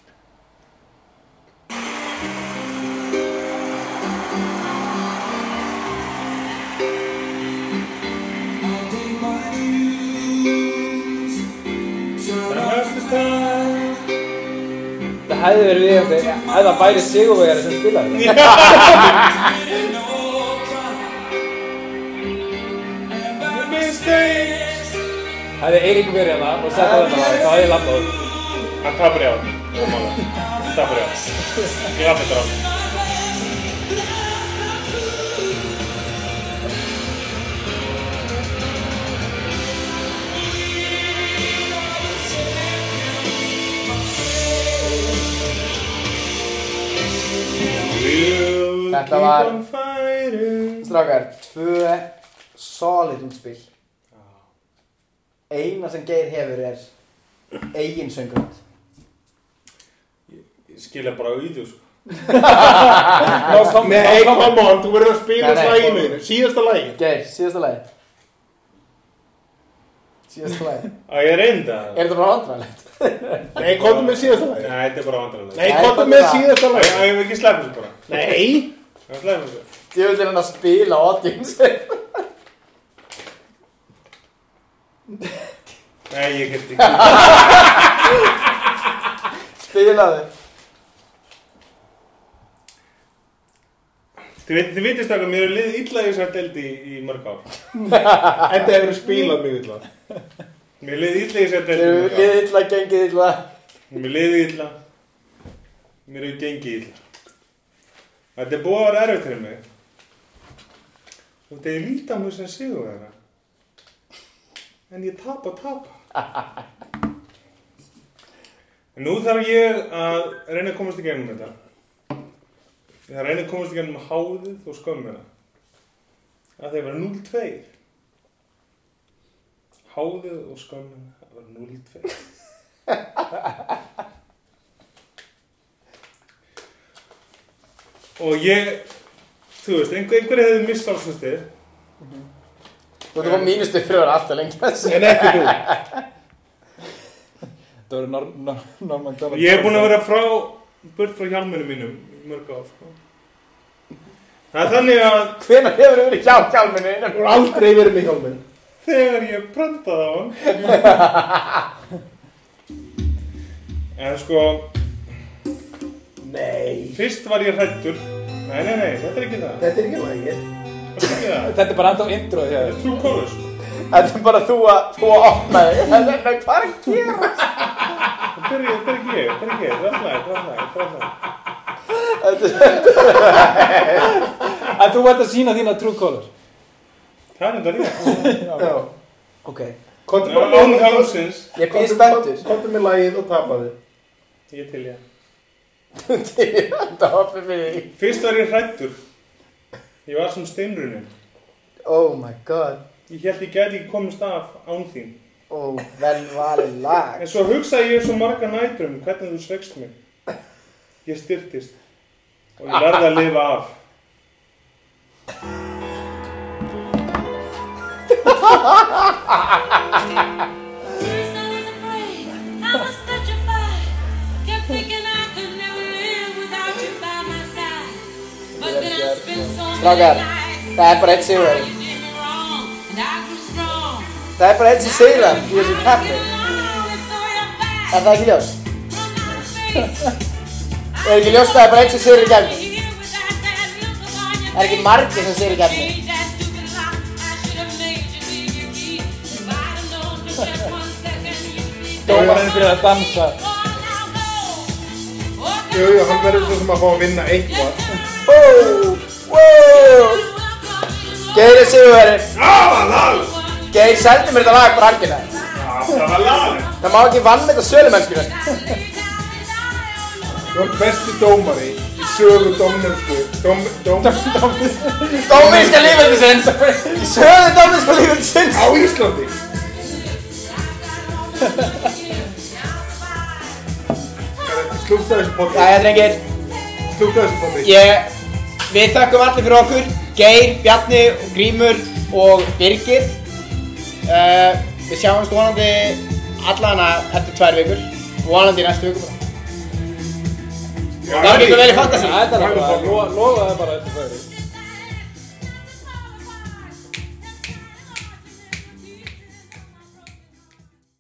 Speaker 2: það hefði verið viðjöndi hefði það bæri sigurvegari sem spilaði þetta. hefði Eirík verið hérna og sett á þetta lag, þá hefði ég labbað út.
Speaker 5: Hann tapar í á hann. Hann tapar í á hann. Ég lapp þetta á hann.
Speaker 1: Þetta var-
Speaker 5: Keep on fighting.
Speaker 1: Strákar, tvö solid útspil Eina sem Geir hefur er eigin söngund
Speaker 5: Ég skilja bara auðu sko.
Speaker 2: No comment,
Speaker 3: Nei,
Speaker 2: no comment.
Speaker 3: come on, þú verður að spila
Speaker 1: Nei, nei.
Speaker 3: slaginu þínu, síðasta lagi
Speaker 1: Geir, síðasta lagi Síðasta lagi
Speaker 5: Að ég reynda það.
Speaker 1: Er þetta bara vandrarlegt?
Speaker 3: Nei, komdu með síðasta
Speaker 5: Nei,
Speaker 3: lagi
Speaker 5: þetta er bara vandrarlega.
Speaker 3: Nei,
Speaker 1: Nei,
Speaker 3: komdu
Speaker 1: komdu
Speaker 3: með
Speaker 1: það.
Speaker 3: síðasta
Speaker 5: Nei,
Speaker 3: lagi
Speaker 5: ég vil ekki sleppa þessu bara.
Speaker 3: Nei,
Speaker 5: Ég vil sleppa þessu.
Speaker 1: Ég vil hérna spila audience
Speaker 5: Nei, ég get ekki.
Speaker 1: [laughs] Spilaðu
Speaker 5: Þið veit- þið vitist okkar, mér er liðið illa í þessar deldi í, í mörg
Speaker 1: [laughs]
Speaker 5: ár.
Speaker 3: þetta hefur spilað mjög illa
Speaker 5: Mér er liðið illa í þessar deldi í
Speaker 1: Þegar
Speaker 5: mörg
Speaker 1: við
Speaker 5: ár.
Speaker 1: illa gengið illa
Speaker 5: Mér liði illa Mér hefur gengið illa Þetta er búið að vera erfitt fyrir mig Og þetta er lítið á mig sem sigur þeirra En ég tapa, tapa En nú þarf ég að reyna að komast í gegnum þetta Ég þarf að reyna að komast í gegnum háðið og skömmina Að þeir vera 0-2 Háðið og skömmina að vera 0-2 [laughs] og ég þú veist, einhver, einhver hefði mist ásvöldið
Speaker 1: Þú ert að fá mínustu fröður alltaf lengi þessu
Speaker 3: En ekki þú
Speaker 2: Það voru Nor- Nor- Norman Donald.
Speaker 5: ég hef búin að vera frá burt frá hjálminu mínum í mörg ár sko. það er þannig að
Speaker 1: Hvenær hefur verið hjá kjálminu innan
Speaker 3: Þú er aldrei verið með hjálminn
Speaker 5: þegar ég prantaði á hann
Speaker 3: [laughs]
Speaker 5: en sko
Speaker 3: Nei
Speaker 5: fyrst var ég hrættur nei, nei, nei, þetta er ekki það
Speaker 3: Þetta er ekki lagið
Speaker 5: þetta er ekki það
Speaker 2: Þetta er bara enda á introð hjá
Speaker 5: Þetta
Speaker 2: þér.
Speaker 5: er trú kólus
Speaker 1: Þetta er bara þú að, þú að opna þig Nei, nei, hvað er að gera?
Speaker 5: þetta er þetta er ekki ég, þetta er ekki ég þetta er alltaf, þetta er alltaf, þetta er alltaf
Speaker 2: En þú ert að sína þína true colors.
Speaker 5: það er þetta líka
Speaker 3: Já,
Speaker 1: Ok,
Speaker 4: Kontum
Speaker 5: Ná, án kálsins
Speaker 1: Ég býð spenntur.
Speaker 4: Kontum með lagið og tapaði.
Speaker 5: Ég til ég
Speaker 1: Þetta hoppi fyrir því.
Speaker 5: Fyrst var ég hrættur Ég var sem steinrunin
Speaker 1: Oh my god.
Speaker 5: Ég held ég gæti ekki komist af án þín
Speaker 1: Ó, vel valið lag.
Speaker 5: En svo hugsaði ég svo marga nætur um hvernig þú svegst mig Ég styrtist Og ég lærði að lifa af
Speaker 1: Strákar, það er bara eitt sigur. Það er bara einn sem segir það í þessu keppi. Er það ekki ljós? Er ekki ljóst að það er bara einn sem segir í kefni?
Speaker 8: Það er ekki margir sem segir í kefni.
Speaker 6: Dómarinn fyrir að dansa.
Speaker 4: Jú, jú, hann verður svo sem að fá að vinna eitthvað.
Speaker 1: Wow! Wow! Geir er sigurverðin. Geir sendi mér þetta lag bara algjörlega.
Speaker 5: Það var lag
Speaker 1: Það má ekki vann með þetta sölumennskjur.
Speaker 4: Þú er besti dómari í sögu dómnefnsku. Dóm, dóm,
Speaker 1: Dóminska lífveldisins. Í söðu dóminska lífveldisins.
Speaker 4: á Íslandi. Slúta þessu poti,
Speaker 1: Jæja, drengir.
Speaker 4: slúta þessu poti.
Speaker 1: Ég, við þakkum allir fyrir okkur. Geir, Bjarni, Grímur og Birgir. Uh, við sjáumst vonandi allana eftir tvær vikur. Vonandi í næstu viku bara.
Speaker 4: Já,
Speaker 1: Gangi ykkur vel í fantasy.
Speaker 6: Þetta er bara, lofaði bara þessu fyrir.